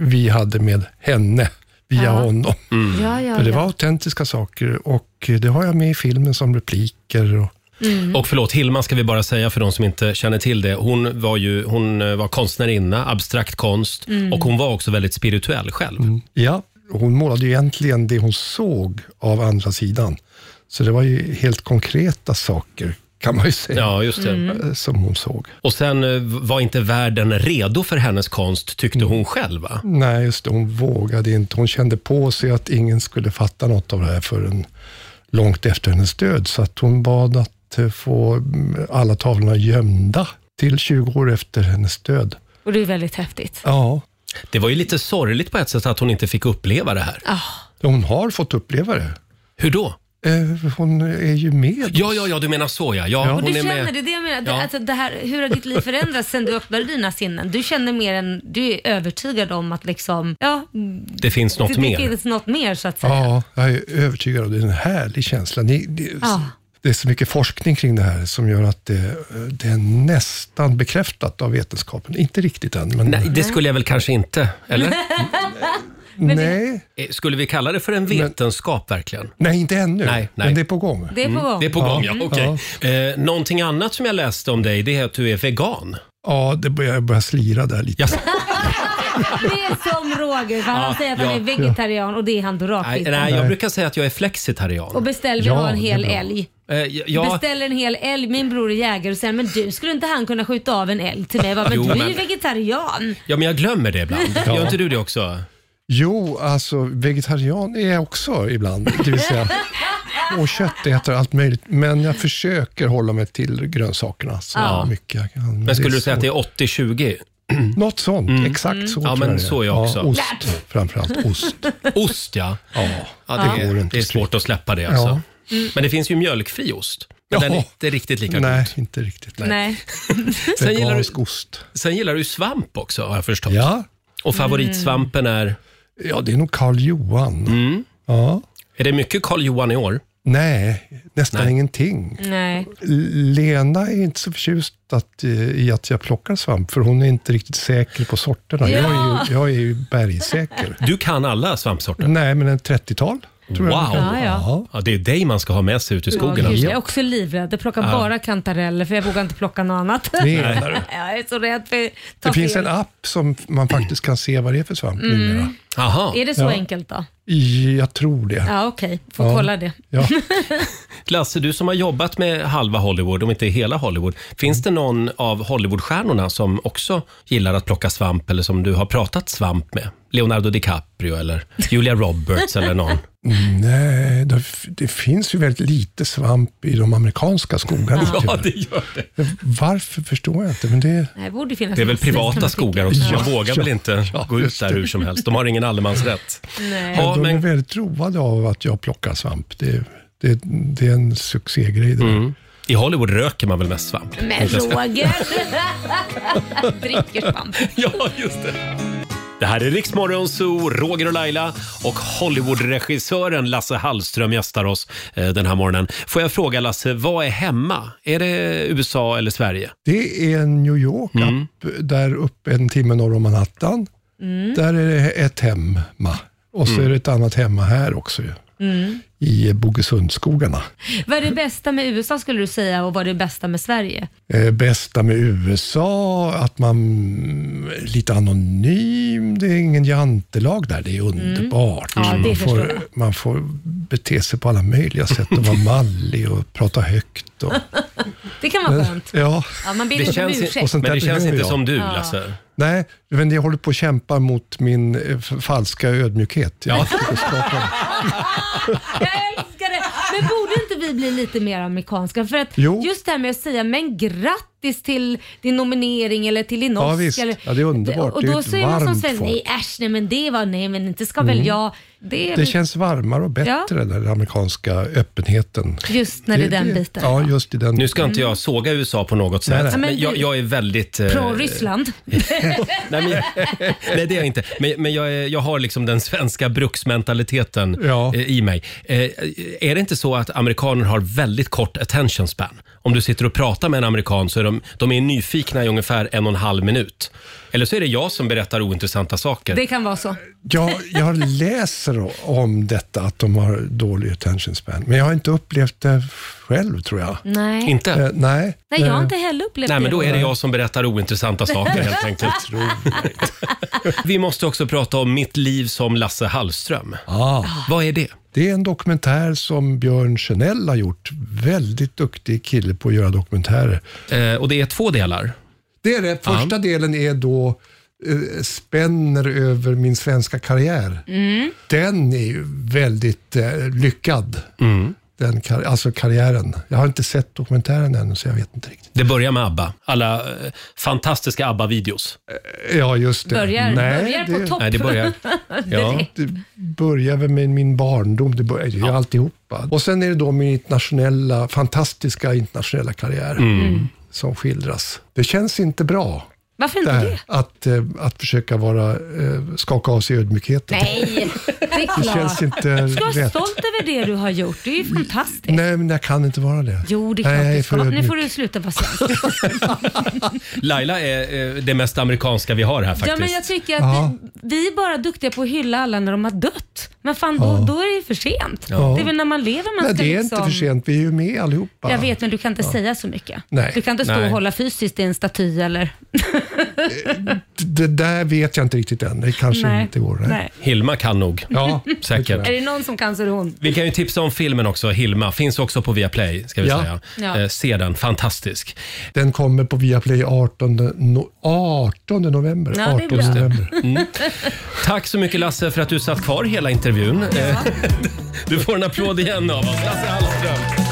vi hade med henne, via
Ja.
honom.
Mm. Ja, ja,
För det
ja.
var autentiska saker och det har jag med i filmen som repliker. Och,
Mm.
Och förlåt, Hilma ska vi bara säga för de som inte känner till det. Hon var ju hon eh, var konstnärinna, abstrakt konst
Mm.
och hon var också väldigt spirituell själv.
ja, hon målade ju egentligen det hon såg av andra sidan. Så det var ju helt konkreta saker, Mm. kan man ju säga,
Ja, just det.
Mm.
eh, som hon såg.
Och sen eh, var inte världen redo för hennes konst, tyckte hon själv va?
Nej, just det, hon vågade inte. Hon kände på sig att ingen skulle fatta något av det här förrän långt efter hennes död. Så att hon bad att eh, få mm, alla tavlorna gömda till 20 år efter hennes död.
Och det är väldigt häftigt.
Ja.
Det var ju lite sorgligt på ett sätt att hon inte fick uppleva det här.
Ah.
Hon har fått uppleva det.
Hur då?
Eh, hon är ju med.
Ja, ja, ja, du menar så ja. ja,
och du
hon är
känner
med.
det, är det jag menar.
Ja.
Det, alltså det här, hur har ditt liv förändrats sen du öppnade dina sinnen? Du känner mer än, du är övertygad om att liksom, ja,
Det finns något
det
mer.
finns något mer så att säga.
Ja, jag är övertygad om det. Det är en härlig känsla. Ni, det,
Ja.
det är så mycket forskning kring det här som gör att det, det är nästan bekräftat av vetenskapen. Inte riktigt än, men...
Nej, det skulle jag väl kanske inte, eller?
Nej,
Eh, Skulle vi kalla det för en vetenskap verkligen?
nej inte ännu,
Nej, nej. Mm.
men det är på gång.
Det är på gång.
Det är på gång, ja.
Ja.
Okej. Eh, någonting annat som jag läste om dig, det är att du är vegan.
Ja, det börjar, jag börjar slira där lite.
Det är som Roger, för han
Ja,
säger att han
ja.
är vegetarian och det är han då rakt
Nej,
inte.
nej, jag brukar säga att jag är flexitarian.
Och beställ vill
Ja,
ha en
det är
hel
bra.
älg.
Eh, j- ja,
Beställer en hel älg, min bror är jägare och sen men du, skulle inte han kunna skjuta av en älg till mig? Jag bara, men
Jo,
du är
men-
ju vegetarian.
ja, men jag glömmer det ibland.
Ja.
Gör inte du det också?
Jo, alltså vegetarian är jag också ibland. Det vill säga, och köttätare, allt möjligt. Men jag försöker hålla mig till grönsakerna så
Ja.
mycket jag kan.
Men skulle
är
du säga att det
svårt.
är 80-20?
Något sånt, exakt så
Mm. Ja,
tror
men
jag det
så är jag också.
Ja, ost, framförallt ost.
Ost, ja.
Ja,
Ja,
det
det,
går
är,
inte
det är svårt att släppa det alltså.
Ja. Mm.
Men det finns ju mjölkfri ost. Men
Ja.
den är inte riktigt lika
Nej,
god.
inte riktigt.
Nej.
Sen gillar, du,
ost.
sen gillar du svamp också har jag förstått.
Ja.
Och favoritsvampen är?
Ja, det är nog Karl Johan.
Mm.
Ja.
Är det mycket Karl Johan i år?
Nej, nästan ingenting.
Nej.
Lena är inte så förtjust att, eh, i att jag plockar svamp, för hon är inte riktigt säker på sorterna. Jag, är ju, jag är ju bergsäker.
Du kan alla svampsorter?
Nej, men en 30-tal.
Wow!
Mm. tror jag.
Ja, ja.
Ja, det är dig man ska ha med sig ut i skogen.
Ja, gud,
alltså.
jag är också livrädd. Jag plockar
Ja.
bara kantareller för jag vågar inte plocka något annat.
Det är det.
jag är så rädd för att ta
Det finns
fel.
en app som man faktiskt kan se vad det är för svamp
Mm.
numera.
Är det så
Ja.
enkelt då?
Jag tror det.
Ja, okej. Får
Ja.
kolla det.
Lasse, du som har jobbat med halva Hollywood, om inte hela Hollywood. Finns det någon av Hollywoodstjärnorna som också gillar att plocka svamp eller som du har pratat svamp med? Leonardo DiCaprio eller Julia Roberts eller någon?
Nej, det, det finns ju väldigt lite svamp i de amerikanska skogarna.
Ja,
tyvärr.
det gör det.
Varför förstår jag inte, men det...
Det borde finnas
Det är väl
massvis, kan
privata
man tycka.
skogar också, så
Ja.
man vågar väl inte gå ut där hur som helst. De har ingen allemansrätt.
Nej.
Ja,
de
men-
är väldigt roade av att jag plockar svamp. Det, det, det är en succégrej det där.
I Hollywood röker man väl mest svamp?
Men
tänkte jag säga.
Roger! Dricker svamp.
Ja, just det. Det här är Riksmorgon Zoo, Roger och Laila och Hollywoodregissören Lasse Hallström gästar oss eh, den här morgonen. Får jag fråga Lasse, vad är hemma? Är det USA eller Sverige?
Det är en New York-app
Mm.
där uppe en timme norr om Manhattan.
Mm.
Där är det ett hemma och så
Mm.
är det ett annat hemma här också ju,
Mm.
i Bogesundsskogarna.
Vad är det bästa med USA skulle du säga och vad är det bästa med Sverige?
Eh, bästa med USA, att man är lite anonym. Det är ingen jantelag där. Det är underbart.
Mm. Ja, det
man,
förstår
får, man får bete sig på alla möjliga sätt och vara mallig och prata högt. Och,
Det kan vara skönt.
Ja.
Ja, man ber inte om ursäkt.
och sånt där behöver jag.
Ja.
Nej, men jag håller på att kämpa mot min eh, f- falska ödmjukhet. Jag försöker skapa den.
Jag älskar det! Men borde inte vi bli lite mer amerikanska? För att
Jo.
just det här med att säga men grattis till din nominering eller till din
Ja,
Oscar.
visst.
Eller,
Ja, det är underbart.
Och
Det är
då
ett
säger man som
varmt
svensk,
folk.
nej äsch, nej men det var, nej men inte ska väl
Mm.
jag. Det, är
Det
väl-
känns varmare och bättre, den här amerikanska öppenheten.
Just när det är den biten.
Ja, just i den
Nu ska inte jag såga USA på något sätt,
Nej, nej.
men
Men
jag,
du-
jag är väldigt... eh,
Pro-Ryssland.
Nej, men, nej, det är jag inte. Men, men jag, är, jag har liksom den svenska bruksmentaliteten eh, i mig. Eh, är det inte så att amerikaner har väldigt kort attention span? Om du sitter och pratar med en amerikan så är de, de är nyfikna i ungefär en och en halv minut. Eller så är det jag som berättar ointressanta saker.
det kan vara så.
Jag, jag läser om detta, att de har dålig attention span. Men jag har inte upplevt det själv, tror jag.
Mm.
Nej.
Inte?
Eh, nej.
Nej, jag har inte heller upplevt
Nej, men då är det
det.
jag som berättar ointressanta saker helt enkelt. Vi måste också prata om mitt liv som Lasse Hallström. Ah, Vad är det?
Det är en dokumentär som Björn Chanel har gjort. Väldigt duktig kille på att göra dokumentärer.
Eh, och det är två delar.
Det är det. Första delen är då eh, spänner över min svenska karriär.
Mm.
Den är ju väldigt eh, lyckad.
Mm.
Den kar- alltså karriären. Jag har inte sett dokumentären ännu så jag vet inte riktigt.
Det börjar med ABBA. Alla eh, fantastiska ABBA-videos.
Eh, Ja, just det.
Börjar- börjar på topp. Nej, det börjar- Ja.
Det börjar väl med min barndom. Det börjar ju alltihopa. Och sen är det då min internationella, fantastiska internationella karriär
Mm.
som skildras. Det känns inte bra.
Varför inte
där,
det?
Att, eh, att försöka vara, eh, skaka av sig ödmjukheten.
Nej, det är klart.
känns inte
du ska vara
rätt. Mm.
stolt över det du har gjort. Det är ju fantastiskt.
Nej, men jag kan inte vara det.
Jo, det är
Nej,
klart
jag
du
är
ska.
för
Nu
ödmjuk.
får du sluta vara svensk.
Laila är eh, det mest amerikanska vi har här faktiskt.
Ja, men jag tycker att
Ja.
vi, vi är bara duktiga på att hylla alla när de har dött. Men fan, då, då är det ju för sent.
Ja.
Det är väl när man lever man
Nej,
ska
det är
liksom...
inte för sent. Vi är ju med allihopa.
Jag vet, men du kan inte
Ja.
säga så mycket.
Nej.
Du kan inte stå
Nej.
och hålla fysiskt i en staty eller...
Det där vet jag inte riktigt än. Det kanske
Nej.
inte går.
Nej.
Hilma kan nog.
Ja,
säkert.
Är det någon som kan så är det hon.
Vi kan ju tipsa om filmen också, Hilma. Finns också på Viaplay, ska vi
Ja.
säga.
Ja.
Eh, se den, fantastisk.
Den kommer på Viaplay 18, no, 18 november. 18 november.
Mm. Tack så mycket Lasse för att du satt kvar hela intervjun. Eh, Du får en applåd igen av oss. Lasse Hallström.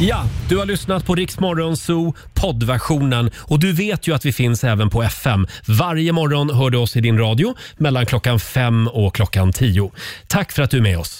Ja, du har lyssnat på Riksmorgon Zoo poddversionen och du vet ju att vi finns även på FM. Varje morgon hör du oss i din radio mellan klockan fem och klockan tio. Tack för att du är med oss.